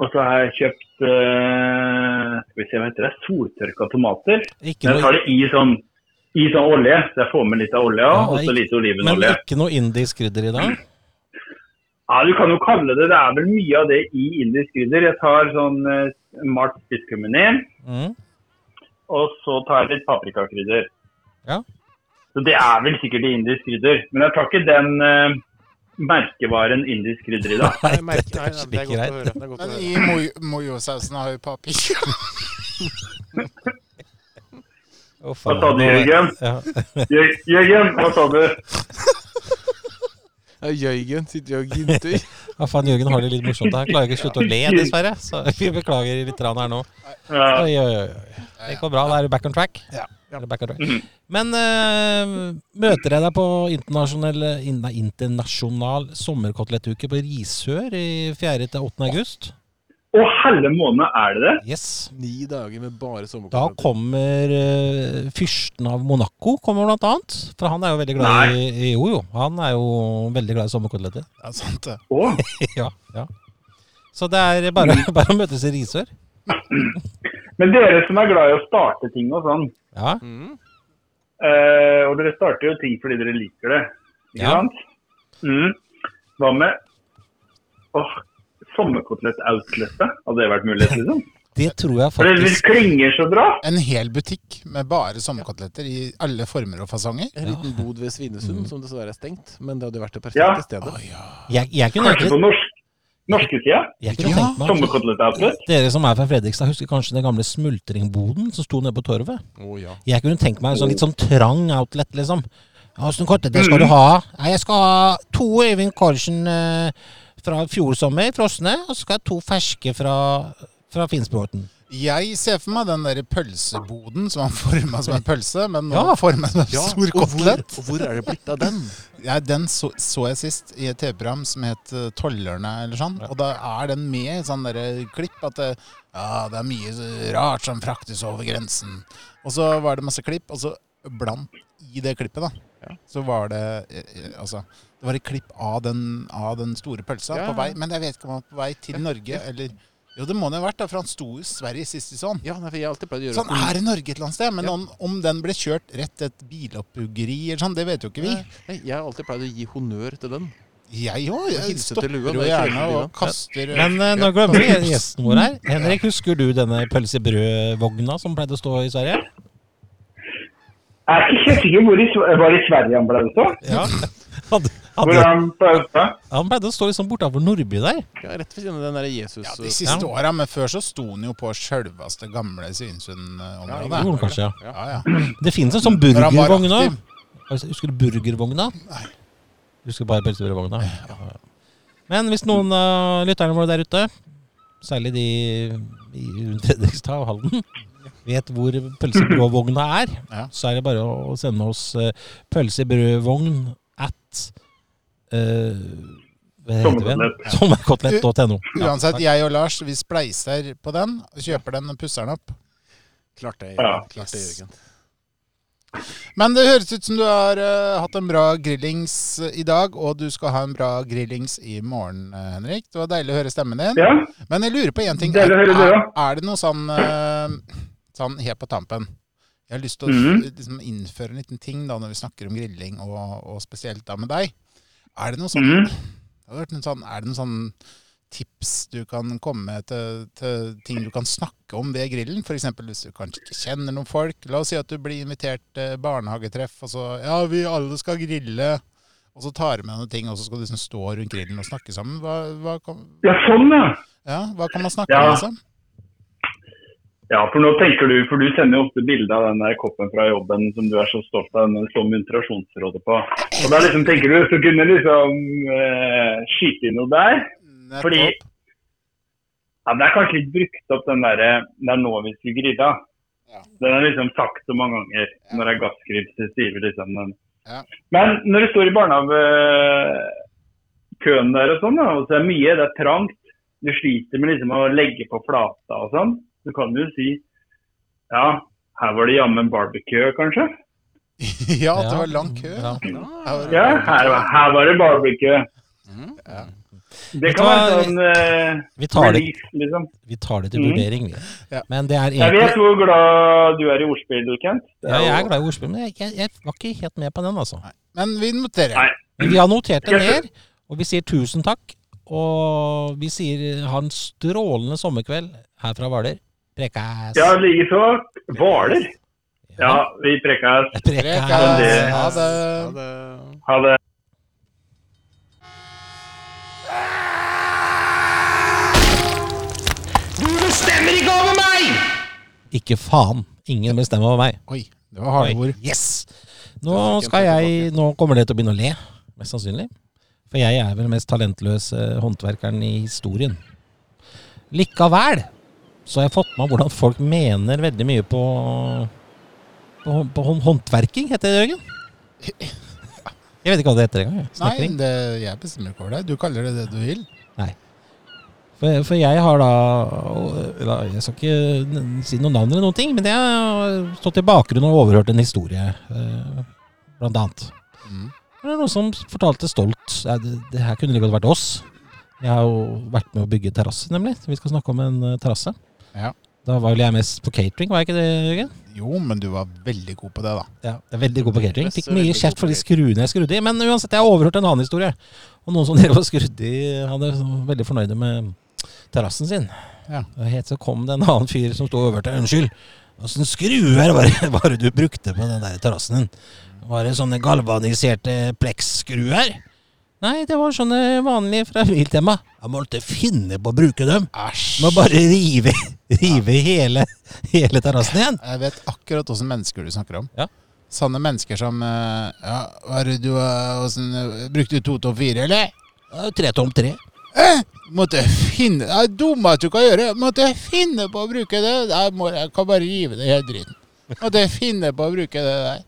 E: Og så har jeg kjøpt eh, skal vi se hva heter det, soltørka tomater.
A: Ikke
E: Jeg
A: noe,
E: tar det i sånn, i sånn olje, så jeg får med litt av
A: Ja,
E: olja og så
A: ikke-
E: litt
A: men
E: olivenolje.
A: ikke noe indisk krydder i dag?
E: Ja, Du kan jo kalle det det er vel mye av det i indisk krydder. Jeg tar sånn eh, malt spisskummin,
A: Mm.
E: og så tar jeg litt paprikakrydder.
A: Ja.
E: Så Det er vel sikkert i indisk krydder. Men jeg tar ikke den eh, merkevaren indisk krydder i dag.
A: Nei,
C: jeg merker-
A: dette
C: nei,
A: er ikke
C: nei, godt å
A: greit.
C: høre, det er godt å
B: Men
C: høre.
B: i moj- mojosausen har jo paprika.
A: Å,
E: Hva
A: faen.
E: sa du, Jørgen?
A: Ja.
E: Jør- Jørgen, hva sa du?
C: Ja, Jørgen sitt Jørgen-tur.
A: Ja, faen, Jørgen har det litt morsomt her. Klarer ikke å slutte å le, dessverre. Så vi beklager litt rann her nå.
E: Ja.
A: Oi, oi, oi, oi. Det går bra. Da er du back on track.
B: Ja.
A: Da er du Back on track. Men eh, møter jeg deg på internasjonal, nei, internasjonal sommerkotelettuke på Risør i 4. til 8. august?
E: Å, helle måned, er det det?
A: Yes.
C: Ni dager med bare
A: Da
C: sommerkontrakter.
A: kommer eh, fyrsten av Monaco, kommer blant annet. For han er jo veldig glad i, i Jo, jo. Han er jo veldig glad i sommerkoteletter.
B: Ja, sant det.
E: Å,
A: ja, ja. Så det er bare, bare å møtes i Risør.
E: Men dere som er glad i å starte ting og sånn,
A: Ja.
C: Mm.
E: eh, og dere starter jo ting fordi dere liker det, ikke
A: Ja.
E: sant? Mm. Hva med åh, sommerkotelett-outletet? Hadde det vært mulighet, liksom?
A: Det tror jeg
E: For det
A: faktisk
E: klinger så bra.
B: En hel butikk med bare sommerkoteletter i alle former og fasonger.
C: En liten bod ved Svinesund, som dessverre er stengt. Men det hadde vært det perfekte
E: Ja.
C: stedet.
A: Jeg, jeg kunne
E: Kanskje på
A: egentlig
E: norsk, norske sida?
A: jeg kunne
B: Ja,
A: tenkt meg
E: Sommerkotelettapet?
A: Dere som er fra Fredrikstad, husker kanskje den gamle smultringboden som sto nede på torvet?
C: Å ja.
A: Jeg kunne tenkt meg en
E: Oh.
A: sånn litt sånn trang outlet, liksom. Åssen koteletter
E: Mm.
A: skal du ha? Nei, jeg skal ha to Øyvind Karlsen eh, fra fjor sommer, frosne, og så skal jeg ha to ferske fra, fra Finnsbråten.
B: Jeg ser for meg den der pølseboden som han forma som en pølse, men nå
A: Ja.
B: forma som en stor
C: og hvor,
B: kotelett.
C: og hvor er det blitt av den?
B: Ja, den så, så jeg sist i et TV-program som het eh, Tollerne, eller sånn. Og da er den med i sånn derre klipp at det, ja, det er mye eh, rart som fraktes over grensen. Og så var det masse klipp, og så blant i det klippet, da, så var det eh, eh, Altså, det var et klipp av den, av den store pølsa
C: Ja.
B: på vei, men jeg vet ikke om han var på vei til Norge, eller Jo, det må den ha vært, da, for han sto i Sverige sist i sånn.
C: Ja, nei, for jeg har alltid pleid å gjøre
B: Så han er i Norge et eller annet sted, men om, om den ble kjørt rett til et bilopphuggeri eller sånn, det vet jo ikke vi.
C: Nei, jeg har alltid pleid å gi honnør til den.
B: Jeg òg. Jeg
C: hilse til
B: stopper
C: lua,
B: jo
C: det er ikke
B: gjerne
C: veldig
B: og
C: bra.
B: kaster
A: Men eh, nå glemmer vi gjesten vår her. Henrik, husker du denne pølsebrødvogna som pleide å stå i Sverige?
E: Jeg er ikke helt sikker hvor i, Sv- var det i Sverige han ble utstå.
A: Ja. Han,
E: Hvor
A: han,
E: han ble utstå.
A: han pleide å stå liksom bortafor Nordby der.
C: Ja, rett ved siden av den der Jesus.
B: Ja, de
C: eh,
B: siste
A: Ja.
B: åra, men før så sto den jo på sjølveste gamle
A: Det
B: Svinesund-området.
A: gjorde han kanskje, ja.
B: Ja, ja.
A: Det finnes en sånn
B: Når han var
A: burgervogn òg.
B: aktiv.
A: Husker du burgervogna?
B: Nei.
A: Husker bare pølsebrødvogna? Ja. Men hvis noen av lytterne våre der ute, særlig de i rundt Fredrikstad og Halden, vet hvor pølsebrødvogna er,
B: Ja.
A: så er det bare å sende oss eh, pølsebrødvogn at eh, hva heter den? Sommerkotelett.no. Ja,
B: Uansett,
A: takk.
B: jeg og Lars vi spleiser på den, kjøper den og pusser den opp.
C: Klart det,
E: Ja.
C: klart det, Jørgen.
B: Men det høres ut som du har eh, hatt en bra grillings eh, i dag, og du skal ha en bra grillings i morgen, eh, Henrik. Det var deilig å høre stemmen din.
E: Ja.
B: Men jeg lurer på én ting.
E: Deilig å høre det,
B: er,
E: ja.
B: er det noe sånn, eh, sånn helt på tampen Jeg har lyst til å
E: Mhm.
B: liksom, innføre en liten ting da når vi snakker om grilling, og, og spesielt da med deg. Er det noe sånn,
E: Mhm.
B: det hadde vært noe sånn, er det noe sånn tips du kan komme med til, til ting du kan snakke om ved grillen? F.eks. hvis du kanskje ikke kjenner noen folk. La oss si at du blir invitert til barnehagetreff, og så Ja, vi alle skal grille. Og så tar du med noen ting, og så skal du liksom stå rundt grillen og snakke sammen. Hva, hva, kan,
E: ja, sånn ja.
B: ja, hva kan man snakke
E: Ja.
B: om, liksom?
E: Ja, for nå tenker du, for du sender jo ofte bilde av den der koppen fra jobben som du er så stolt av, den som muntrasjonsrådet på. Og da liksom tenker du, så kunne du liksom eh, skyte inn noe der. Fordi
B: Nettopp.
E: ja, det er kanskje litt brukt opp den derre Det er nå vi skulle grille.
B: Ja.
E: Den er liksom sagt så mange ganger når det er gasskrim, så sier vi liksom den.
B: Ja.
E: Men når du står i barnehagekøen der og sånn, da, og så er det mye, det er trangt, du sliter med liksom å legge på flata og sånn, så kan du jo si ja, her var det jammen barbecue, kanskje.
B: ja, at det var lang kø.
A: Ja.
B: Her var det
E: Ja,
B: lang kø.
E: her, var- her var det barbecue.
C: Mhm.
E: Det
A: Vet du
E: kan være
A: hva?
E: sånn eh,
A: Vi tar det,
E: release, liksom.
A: vi tar det til
E: Mhm.
A: vurdering, vi.
B: Mm. Ja.
A: Men det er
E: Jeg
A: egentlig
E: vet hvor glad du er i ordspill, Kent. Det
A: ja,
E: jo-
A: Jeg er glad i ordspill, men jeg, jeg, jeg var ikke helt med på den, altså.
B: Men vi noterer.
E: Nei.
A: Men vi har notert det
E: Jeg
A: ned, og vi sier tusen takk. Og vi sier ha en strålende sommerkveld her fra Hvaler. Prekæs.
E: Ja, likeså. Hvaler. Ja, vi prekkes.
A: Prekæs.
B: Prekæs. Ha
C: Ha
B: det.
C: det.
E: Ha det.
A: Ikke faen. Ingen bestemmer over meg.
B: Oi, det var harde ord.
A: Yes! Nå skal jeg Nå kommer det til å begynne å le, mest sannsynlig. For jeg er vel den mest talentløse håndverkeren i historien. Likevel så har jeg fått med meg hvordan folk mener veldig mye på På, hå- på hånd- håndverking, heter det, Jørgen? Jeg vet ikke hva det heter engang. jeg.
B: Nei,
A: Snekring.
B: det, jeg bestemmer ikke over det. Du kaller det det du vil.
A: For, for jeg har da og- eller, Jeg skal ikke n- si noen navn eller noen ting, men jeg har stått i bakgrunnen og overhørt en historie, eh, blant annet.
B: Mm.
A: Det er noen som fortalte stolt ja, det, det her kunne like godt vært oss. Jeg har jo vært med å bygge terrasse, nemlig. Vi skal snakke om en eh, terrasse.
B: Ja.
A: Da var vel jeg mest på catering, var jeg ikke det, Jørgen?
B: Jo, men du var veldig god på det, da.
A: Ja, jeg er veldig god på catering.
C: Best
A: Fikk
C: og
A: mye
C: veldig
A: kjeft
C: god
A: for
C: på
A: de skruene jeg skrudde i. Men uansett, jeg har overhørt en annen historie. Og noen som drev og skrudde i, hadde var veldig fornøyde med terrassen sin.
B: Ja.
A: Og helt så kom det en annen fyr som sto og overhørte. Unnskyld, åssen skruer var det, var det du brukte på den der terrassen din? Var det sånne galvaniserte pleksskruer? Nei, det var sånne vanlige fra Biltema. Jeg må ikke finne på å bruke dem.
B: Æsj.
A: Må bare rive, rive hele, hele terrassen igjen.
B: Jeg vet akkurat åssen mennesker du snakker om.
A: Ja.
B: Sånne mennesker som eh, Ja, var det du eh, hvordan, eh, Brukte du to topp fire, eller?
A: Det er jo Tre tom tre.
B: Eh, Måtte jeg finne Det er dumme at du kan gjøre. Måtte jeg finne på å bruke det? Nei, må, jeg kan bare rive det hele dritten. Måtte jeg finne på å bruke det der?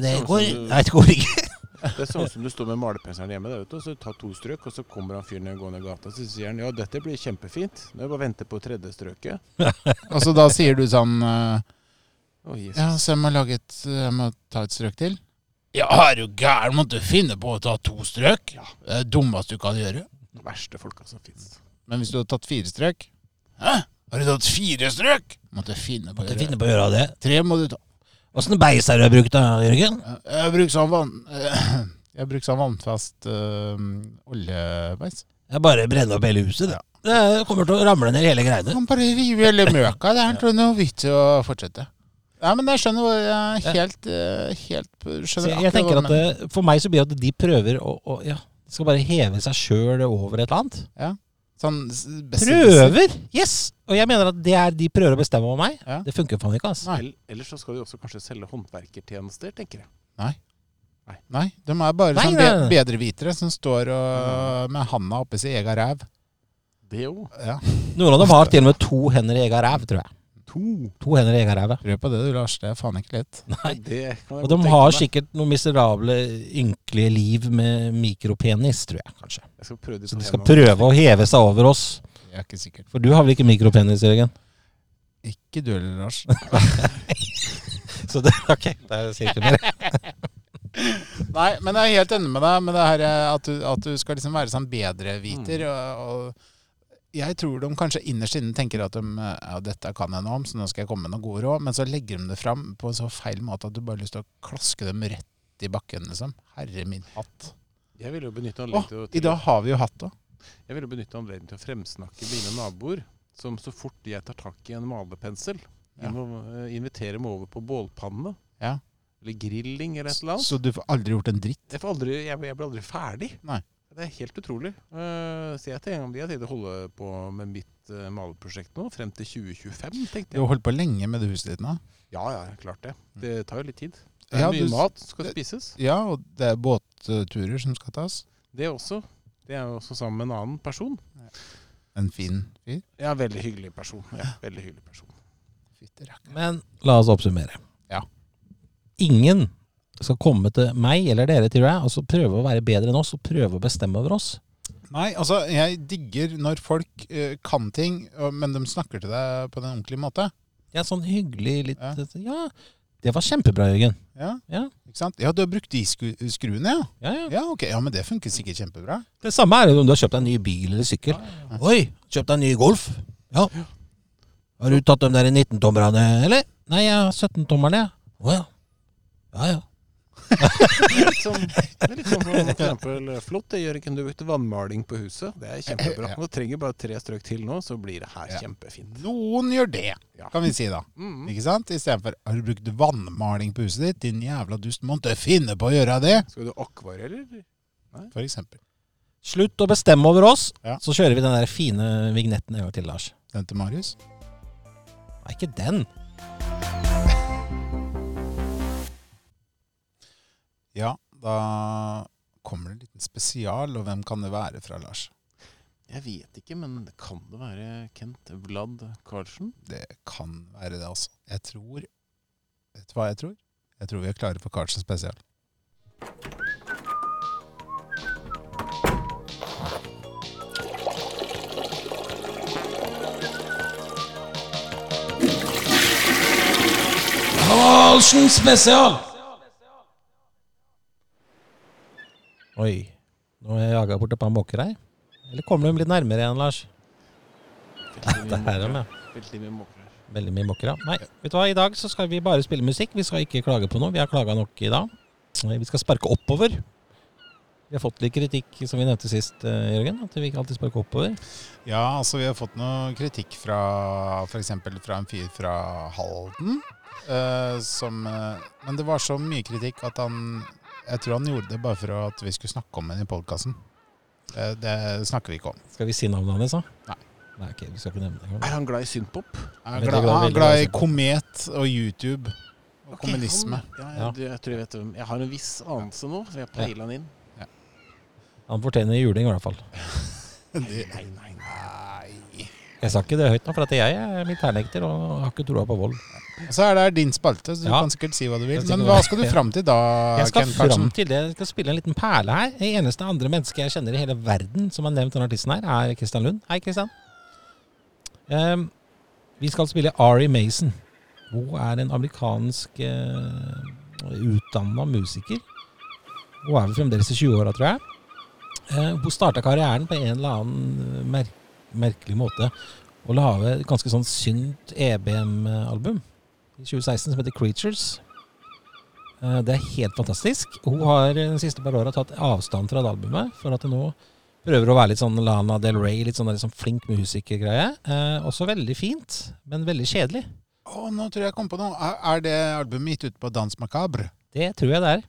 B: Ja, Det
C: Sånn som
B: går,
C: du-
B: nei, det går ikke.
C: Det er sånn som du står med malerpenselen hjemme, der, vet du, og så tar to strøk, og så kommer han fyren ned gående i gata, så sier han ja, dette blir kjempefint, nå er det bare å vente på tredje strøket.
B: Og så da sier du sånn eh,
C: Å, Jesus.
B: Ja, så jeg må, lage et, jeg må ta et strøk til? Ja, er du gæren? Måtte du finne på å ta to strøk? Det er det dummeste du kan gjøre.
C: De verste folka som fins.
B: Men hvis du hadde tatt fire strøk Hæ? Har du tatt fire strøk? Måtte jeg finne på å
A: Du
B: gjøre.
A: finner på å gjøre det.
B: Tre må du ta.
A: Åssen beis har du brukt da, Jørgen?
B: Jeg bruker sånn vann... Jeg bruker sånn vannfast øh, oljebeis.
A: Jeg bare brenner opp hele huset, det. Det kommer til å ramle ned hele
B: Du
A: greiene.
B: kan bare rive hele møka. Det er ikke noe vits i å fortsette. Nei, men jeg skjønner hvor jeg er helt, øh, helt
A: Så
B: skjønner
A: jeg
B: akkurat
A: tenker
B: hva
A: at
B: du mener.
A: eh, For meg så blir det at de prøver å, å ja, de skal bare heve seg sjøl over et eller annet.
B: sånn, s- besittelse.
A: Prøver! Yes! Og jeg mener at det er de prøver å bestemme over meg.
B: Ja.
A: Det funker faen ikke, altså.
B: Nei.
C: Ell- Ellers så skal de også kanskje selge håndverkertjenester, tenker jeg.
B: Nei, de er bare
A: Nei,
B: sånn
A: nei,
B: be
A: nei.
B: bedrevitere som står og, med handa oppi sin egen ræv.
C: Det òg.
B: Ja,
A: Noen av dem har til og med to hender i egen ræv, tror jeg.
C: To!
A: To hender i egen ræv. ja.
B: prøv på det du, Lars. Det er faen ikke lett.
A: Nei.
C: Det kan jeg
A: Og
C: godt
A: de
C: tenke
A: har
C: meg.
A: sikkert noen miserable, ynkelige liv med mikropenis, tror jeg kanskje.
C: Jeg skal prøve de
A: Så
C: på
A: de skal
C: hendene.
A: prøve å heve seg over oss.
B: Jeg er ikke sikker.
A: For du har vel ikke mikropenis, Jørgen?
B: Ikke du heller, Lars.
A: Så det, ok, det sier ikke mer.
B: Nei, men jeg er helt enig med deg med det her eh, at du, at du skal liksom være sånn bedreviter. Og, og jeg tror de kanskje innerst inne tenker at de, eh, ja, dette kan jeg noe om, så nå skal jeg komme med noen gode råd. Men så legger de det fram på en så feil måte at du bare har lyst til å klaske dem rett i bakken, liksom. Herre min hatt.
C: Jeg ville jo benytte
B: Å,
C: anledningen til, å-
B: i
C: til,
B: dag har vi jo hatt òg.
C: jeg vil jo benytte anledningen til å fremsnakke mine naboer, som så fort jeg tar tak i en malerpensel,
B: Ja.
C: invo- eh, inviterer meg over på bålpanne.
B: Ja.
C: Eller grilling eller et eller annet.
B: Så du får aldri gjort en dritt.
C: Jeg, får aldri, jeg, jeg blir aldri ferdig.
B: Nei.
C: Det er helt utrolig. Eh, så jeg tenker om de har tenkt å holde på med mitt uh, malerprosjekt nå, frem til 2025,
B: Du
C: tenkte jeg.
B: har holdt på lenge med det huset ditt nå.
C: Ja, ja, klart det. Det tar jo litt tid. Det er
B: Ja,
C: mye
B: du-
C: mat som skal spises.
B: Ja, og det er båtturer som skal tas.
C: Det også. Det er jo også sammen med en annen person.
B: En fin fyr.
C: Ja, veldig hyggelig person. Ja, veldig hyggelig person.
B: Fytti rakkeren.
A: Men la oss oppsummere.
B: Ja.
A: Ingen skal komme til meg eller dere, tror jeg, og så prøve å være bedre enn oss og prøve å bestemme over oss.
B: Nei, altså, jeg digger når folk eh, kan ting, og- men de snakker til deg på den ordentlige måte.
A: Ja, sånn hyggelig litt eh,
B: Ja.
A: Ja, det var kjempebra, Jørgen.
B: Ja,
A: Ja.
B: ikke sant? Ja, du har brukt de skru skruene, ja.
A: Ja, ja.
B: Ja, ok. Ja, men det funker sikkert kjempebra.
A: Det samme er jo om du har kjøpt deg en ny bil eller sykkel. Oi, kjøpt deg en ny Golf. Ja. Har du tatt de der 19-tommerne, eller? Nei, jeg har 17-tommerne, jeg. Å ja. Ja ja.
C: Litt sånn, det er litt sånn for, for eksempel flott. Det gjør ikke du vet, Vannmaling på huset. Det er kjempebra.
B: Ja.
C: Nå trenger bare tre strøk til nå, så blir det her
B: Ja.
C: kjempefint.
B: Noen gjør det,
C: Ja.
B: kan vi si da.
C: Mm.
B: Ikke sant? Istedenfor har du brukt vannmaling på huset ditt, din jævla dust, må ikke finne på å gjøre det,
C: Skal du akvareller?
B: for eksempel.
A: Slutt å bestemme over oss,
B: Ja.
A: så kjører vi den der fine vignetten en gang til, Lars.
B: Den til Marius.
A: Nei, ikke den.
B: Ja, da kommer det en liten spesial, og hvem kan det være fra, Lars?
C: Jeg vet ikke, men kan det være Kent Vlad Karlsen?
B: Det kan være det, altså. Jeg tror Vet du hva jeg tror? Jeg tror vi er klare for Karlsen spesial.
A: Karlsen spesial! Oi. Nå har jeg jaga bort et par måker her. Eller kommer de litt nærmere igjen, Lars?
C: Veldig
A: Det er dem,
C: måker.
A: ja.
C: Veldig mye måker her.
A: Veldig mye mokker, ja. Nei, vet du hva, i dag så skal vi bare spille musikk. Vi skal ikke klage på noe. Vi har klaga nok i dag. Eh, Vi skal sparke oppover. Vi har fått litt kritikk, som vi nevnte sist, eh, Jørgen. At vi ikke alltid sparker oppover.
B: Ja, altså vi har fått noe kritikk fra f.eks. fra en fyr fra Halden. eh, som, eh, men det var så mye kritikk at han Jeg tror han gjorde det bare for at vi skulle snakke om henne i podkasten. Det, det snakker vi ikke om.
A: Skal vi si navnet hans, da?
B: Nei.
A: Nei, ok, vi skal ikke nevne det.
C: Er han glad i synpop?
B: Jeg er glad,
A: Veldig glad,
B: jeg
A: veldig
B: er glad i
A: glad.
B: Komet og YouTube og
C: Ok,
B: kommunisme.
C: han- Ja,
A: Ja.
C: ja. Du, jeg tror jeg vet hvem. Jeg har en viss anelse nå, så jeg peiler han inn.
A: Han fortjener juling, i hvert fall.
B: Det,
C: Nei, nei, nei.
A: Jeg sa ikke det høyt nå, for at jeg er militærnekter og har ikke troa på vold.
B: og så er det din spalte, så du
A: Ja.
B: kan sikkert si hva du vil.
A: Jeg
B: Men
A: tenker
B: hva
A: det.
B: skal du fram til da,
A: Jeg skal
B: Ken
A: fram
B: Karlsen?
A: til det. Jeg skal spille en liten perle her. Det eneste andre mennesket jeg kjenner i hele verden som har nevnt denne artisten her, er Christian Lund. Hei, Christian. Ehm, vi skal spille Ari Mason. Hun er en amerikansk uh, utdanna musiker. Hun er vel fremdeles i 20-åra, tror jeg. Eh, hun starta karrieren på en eller annen eh, mer merkelig måte og lage et ganske sånn synt EBM-album i 2016 som heter Creatures. Eh, Det er helt fantastisk. Hun har eh, de siste par åra tatt avstand fra det albumet. For at hun nå prøver å være litt sånn Lana Del Rey, litt sånn, der liksom flink musikergreie. Eh, også veldig fint, men veldig kjedelig.
B: Å, nå tror jeg jeg kom på noe. Er, er det albumet gitt ut på Dans Macabre?
A: Det tror jeg det er.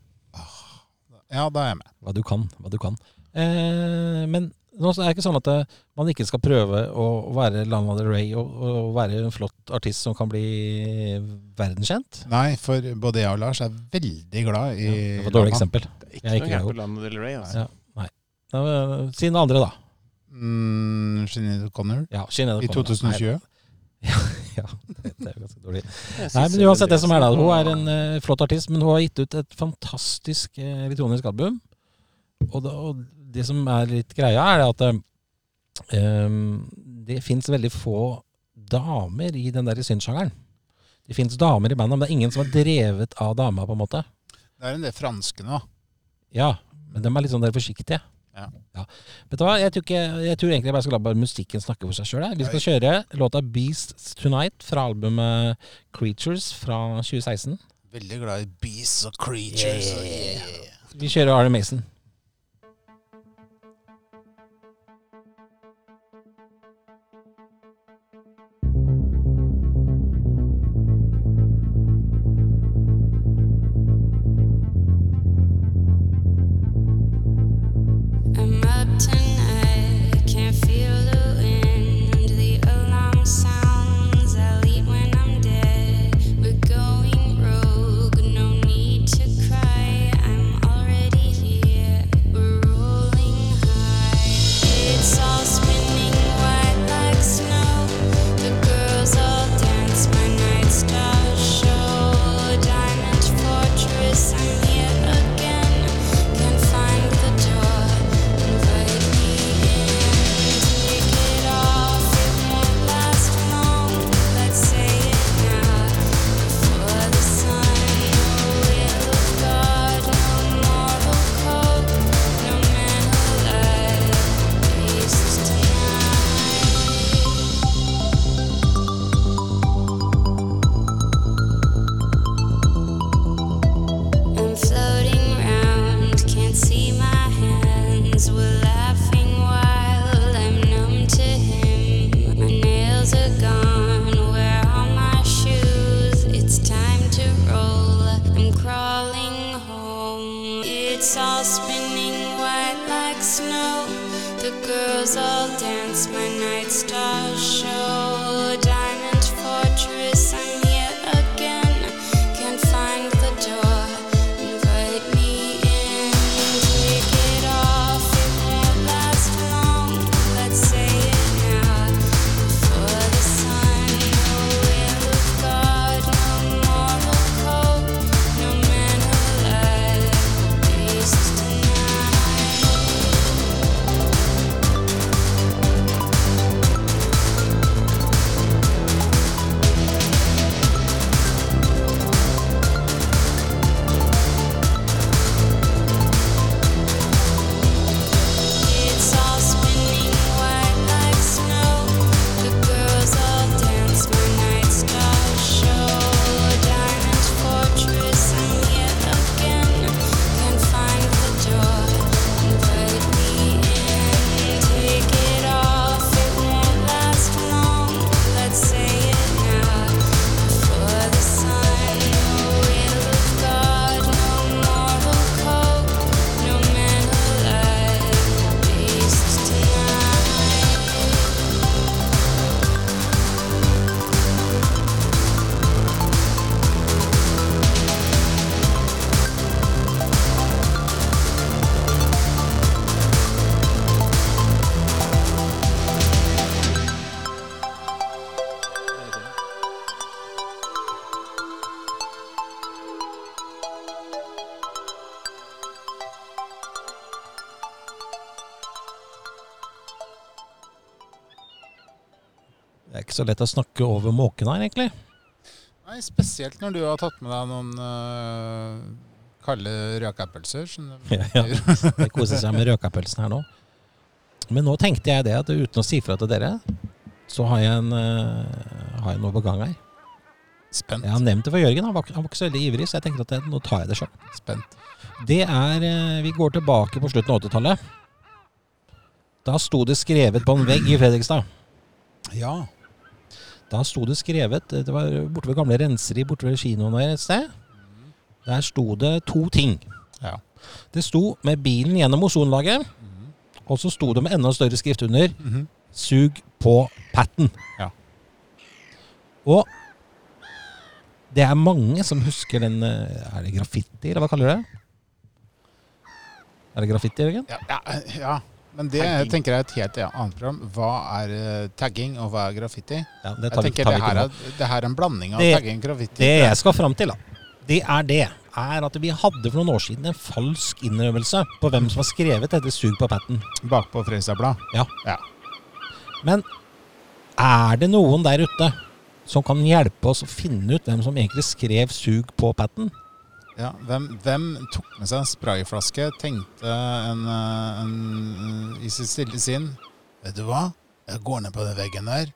B: Ja, da er jeg med.
A: Hva du kan, hva du kan. Eh, men nå så er det ikke sånn at eh, man ikke skal prøve å være Lana Del Rey og, og være en flott artist som kan bli verdenskjent.
B: Nei, for både jeg og Lars er veldig glad i
A: Det var et
B: Lana.
A: dårlig eksempel.
C: Det
A: Jeg
C: er
A: er
C: ikke noe
A: ikke
C: gærent
A: god.
C: på Lana Del Rey. Altså.
A: Ja, nei. Da, eh, Siden andre, da.
B: Mm, Sinead O'Connor
A: Ja, Sinead
B: i
A: O'Connor.
B: 2020.
A: Ja, det det er jo ganske dårlig.
C: Jeg
A: Nei,
C: synes
A: men uansett det som er da, Hun
C: var-
A: er en eh, flott artist, men hun har gitt ut et fantastisk eh, elektronisk album. Og det, og det som er litt greia, er at eh, um, det fins veldig få damer i den der synssjangeren. Det fins damer i bandet, men det er ingen som er drevet av dama, på en måte.
B: Det er en del franske nå.
A: Ja, men de er litt sånn der forsiktige.
B: Ja.
A: Vet du hva, jeg tror, ikke, jeg tror egentlig jeg bare skal la bare musikken snakke for seg sjøl. Vi skal kjøre låta 'Beasts Tonight' fra albumet 'Creatures' fra 2016.
B: Veldig glad i beasts og creatures. og yeah.
A: Vi kjører Arne Mason.
G: I'm up tonight, can't feel the wind. The alarm sounds, I leave when I'm dead. We're going rogue, no need to cry. I'm already here, we're rolling high. It's all spinning white like snow. The girls all dance, my night stars show. Diamond fortress, I'm here again. Can't find the door, invite me in. Take it off, it won't last long. Let's say it now before the sun. No will of God, no moral code, no man alive. Peace tonight. I'm floating round, can't see my hands. We're laughing wild, I'm numb to him. My nails are gone, where are my shoes? It's time to roll, I'm crawling home. It's all spinning white like snow. The girls all dance, my night stars show. Diamond fortress, I'm here again. Can't find the door. Invite me in. Take it off. It won't last long. Let's say it now. Before the sun, no will of God, no moral code, no man alive. Peace tonight.
A: Det er ikke så lett å snakke over måken her, egentlig.
B: Nei, spesielt når du har tatt med deg noen øh, kalde røkepølser. Sånn,
A: Ja, ja. Det koser seg med røkapølsen her nå. Men nå tenkte jeg det, at uten å si fra til dere, så har jeg, en, eh, har jeg noe på gang her.
B: Spent.
A: Jeg har nevnt det for Jørgen, han var, ikke- han var ikke så veldig ivrig, så jeg tenkte at det, nå tar jeg det sjøl.
B: Spent.
A: Det er eh, Vi går tilbake på slutten av 80-tallet. Da sto det skrevet på en vegg i Fredrikstad.
B: Ja.
A: Da sto det skrevet eh, Det var borte ved gamle Renseri, borte ved kinoen der et sted. Der sto det to ting.
B: Ja.
A: Det sto med bilen gjennom ozonlaget, og så sto det med enda større skrift under Sug på patten.
B: Ja.
A: Og det er mange som husker den eh, Er det graffiti, eller hva kaller du det? Er det graffiti, Jørgen?
B: Ja, ja, ja. Men det
C: Tagging.
B: tenker jeg er et helt annet program. Hva er eh, tagging, og hva er graffiti?
A: Ja, det
B: Jeg tenker
A: vi
B: det
A: ikke
B: her,
A: nå.
B: er, det her er en blanding av
A: Det-
B: tagging og graffiti.
A: Det jeg skal fram til, da, det er det. Er at vi hadde for noen år siden en falsk innrømmelse på hvem som har skrevet dette 'Sug på patten'.
B: Bakpå Frøysa-blad.
A: Ja.
B: Ja.
A: Men er det noen der ute som kan hjelpe oss å finne ut hvem som egentlig skrev 'Sug på patten'?
B: Ja, hvem, hvem tok med seg en sprayflaske, tenkte en, eh, en, i sitt stille sinn Vet du hva? Jeg går ned på den veggen der,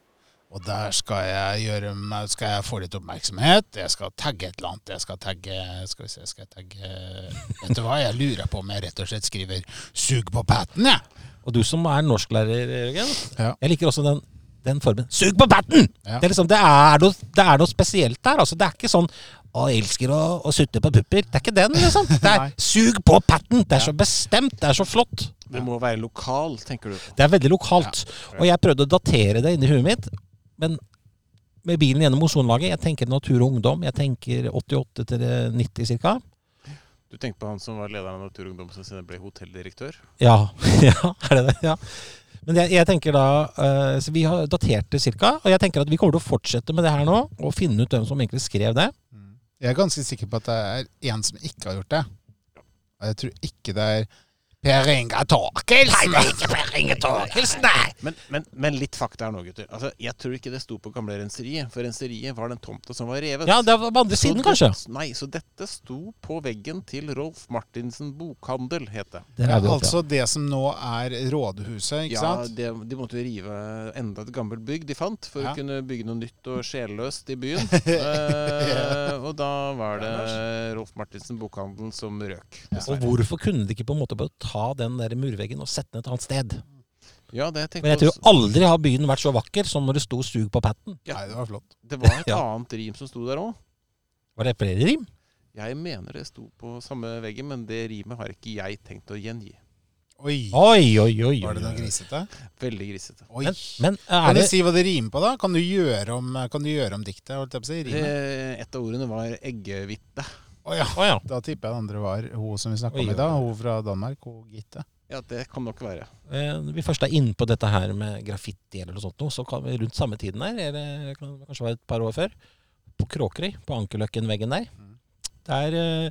B: og der skal jeg, gjøre, meg- skal jeg få litt oppmerksomhet. Jeg skal tagge et eller annet. Jeg skal tagge Skal vi se, skal jeg tagge Vet du hva? Jeg lurer på om jeg rett og slett skriver 'sug på patten', jeg.
A: Og du som er norsklærer, Jørgen.
B: Ja.
A: Jeg liker også den, den formen. 'Sug på patten!'
B: Ja.
A: Det, er liksom, det, er noe, det er noe spesielt der. Altså, det er ikke sånn 'Å, jeg elsker å, å sutte på pupper'. Det er ikke den, liksom. Det er
B: Nei.
A: 'sug på patten'. Det er så bestemt. Det er så flott.
C: Det må være lokal, tenker du.
A: Det er veldig lokalt. Og jeg prøvde å datere det inni huet mitt, men med bilen gjennom ozonlaget Jeg tenker natur og ungdom. Jeg tenker 88 til 90 ca.
C: Du tenkte på han som var lederen av Naturungdom, som senere ble hotelldirektør.
A: Ja. ja, er det det? Ja. Men jeg, jeg tenker da eh, Så vi har datert det ca. Og jeg tenker at vi kommer til å fortsette med det her nå, og finne ut hvem som egentlig skrev det.
B: Jeg er ganske sikker på at det er en som ikke har gjort det. Og jeg tror ikke det er Per Inga Torkelsen. Nei, det er ikke Per Inge Torkelsen, nei.
C: Men, men, men litt fakta her nå, gutter. Altså, jeg tror ikke det sto på gamle renseriet, for renseriet var den tomta som var revet.
A: Ja, det var på andre
C: Så
A: siden,
C: det-
A: kanskje.
C: Nei, så dette sto på veggen til Rolf Martinsen Bokhandel, het det.
A: Der
B: Ja,
A: er vi oppe,
B: altså det som nå er rådhuset, ikke
C: Ja,
B: sant?
C: det, de måtte jo rive enda et gammelt bygg de fant, for
B: Ja.
C: å kunne bygge noe nytt og sjelløst i byen. Eh, og da var det Rolf Martinsen Bokhandel som røk.
A: ja. Og hvorfor kunne de ikke på en måte bare ta den der murveggen og sette den et annet sted?
C: Ja, det tenkte
A: Men jeg tror
C: også-
A: aldri har byen vært så vakker som når det sto 'sug på patten'.
C: Ja.
B: Nei, det var flott.
C: Det var et
A: Ja.
C: annet rim som sto der òg.
A: Var det flere rim?
C: Jeg mener det sto på samme veggen, men det rimet har ikke jeg tenkt å gjengi.
B: Oi,
A: Oi, oi, oi.
B: var det
A: oi,
B: noe
A: oi.
B: grisete?
C: Veldig grisete.
B: Oi.
A: Men, men eh, er
B: kan du
A: det
B: si hva det rimer på, da? Kan du gjøre om, kan du gjøre om diktet? Holdt jeg på å si, rimet?
C: Eh, Et av ordene var eggehvite.
B: Å ja.
A: Å ja.
B: Da tipper jeg det andre var hun som vi snakka
A: Oi,
B: om
A: oi,
B: i dag. Hun fra Danmark, hun Gitte.
C: Ja, det kan nok være.
A: Eh, Når vi først er inne på dette her med graffiti eller noe sånt, nå, så kan vi rundt samme tiden der, eller kan- kanskje det var et par år før, på Kråkerøy, på Ankerløkken-veggen der,
B: Mm.
A: der, eh,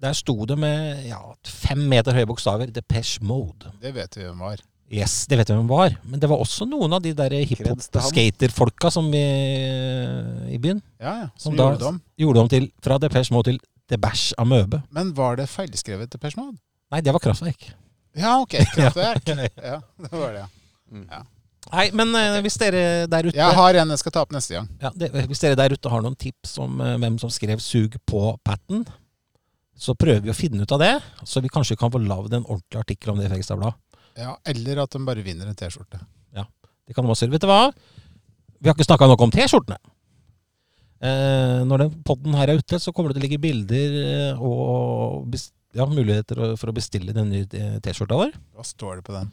A: der sto det med ja, fem meter høye bokstaver Depeche Mode.
B: Det vet vi hvem var.
A: Yes, det vet jeg hvem var, men det var også noen av de der
C: Kreds til han.
A: hiphop-skaterfolka som vi eh, i byen
B: Ja, ja.
A: Som
B: Som
A: da-
B: gjorde det om.
A: gjorde om til fra Depeche Mode til Debash Amøbe.
B: Men var det feilskrevet til Persmod?
A: Nei, det var Kraftverk.
B: Ja, OK. Kraftverk.
A: Ja, ja.
B: Ja, det var det. ja.
A: Nei, men eh, hvis dere der ute
B: Jeg har en jeg skal ta opp neste gang.
A: Ja, det, hvis dere der ute har noen tips om eh, hvem som skrev 'sug på patten', så prøver vi å finne ut av det. Så vi kanskje kan få lagd en ordentlig artikkel om det i Fredrikstad Blad.
B: Ja, eller at de bare vinner en T-skjorte.
A: Det kan de også gjøre. Vet du hva? Vi har ikke snakka nok om T-skjortene. Eh, når den podden her er ute, så kommer det til å ligge bilder eh, og bes- ja, muligheter å- for å bestille den nye eh, T-skjorta vår.
B: Hva står det på den?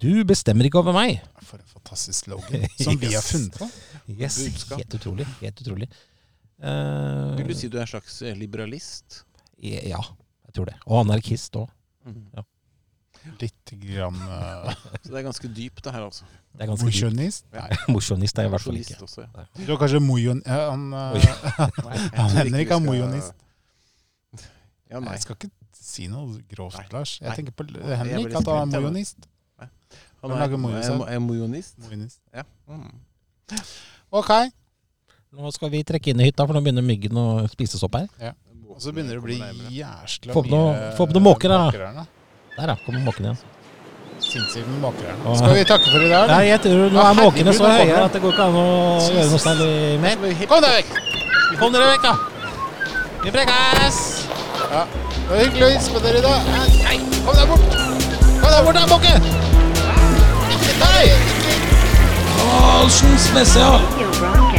A: Du bestemmer ikke over meg.
B: For en fantastisk slogan som vi har
A: Yes.
B: funnet på.
A: Yes,
C: Budskap.
A: Helt utrolig. Helt utrolig. Eh,
C: Vil du si du er en slags eh, liberalist?
A: Ja, jeg tror det. Og anarkist òg.
C: Mm.
B: Litt grann uh,
C: Så det er ganske dypt, det her, altså.
A: Det er ganske dypt.
B: mosjonist.
A: Mosjonist er jeg i hvert fall ikke.
C: Journalist også, ja.
B: Du er kanskje mojon... ja, Han, eh,
A: Oi.
B: Han
C: Nei, jeg tror ikke
B: Henrik
C: vi
B: er
C: skal-
B: mojonist.
C: Ja, nei.
B: Jeg skal ikke si noe grovt,
C: Nei.
B: Lars. Jeg
C: Nei.
B: tenker på
C: Jeg
B: Henrik, at han
C: blir
B: er
C: skremt, jeg,
B: mojonist.
C: Han
B: Han
C: er,
B: lager mojo
C: er,
B: selv.
C: er mojonist.
B: mojonist.
C: Ja. Mm.
B: Ok.
A: Nå skal vi trekke inn i hytta, for nå begynner myggen å spises opp her.
B: Og så begynner det å bli jæsla
A: Få opp noe- få opp noen måker, da. Der, ja. Kommer måken igjen.
B: Sinnssykt med måker her nå.
A: Åh.
B: Skal vi takke for i dag?
A: Nei, jeg tror nå
B: Ja,
A: er måkene
B: herregud,
A: så
B: nå kommer
A: høye
B: den.
A: at det går ikke an å gjøre noe særlig med.
B: eller? Kom deg vekk!
A: Kom dere vekk, da! Vi prekkes!
B: Ja. Det var hyggelig å hilse på dere i dag. Nei, kom deg bort! Kom deg bort, da, måke! Nei!
H: You're wrong.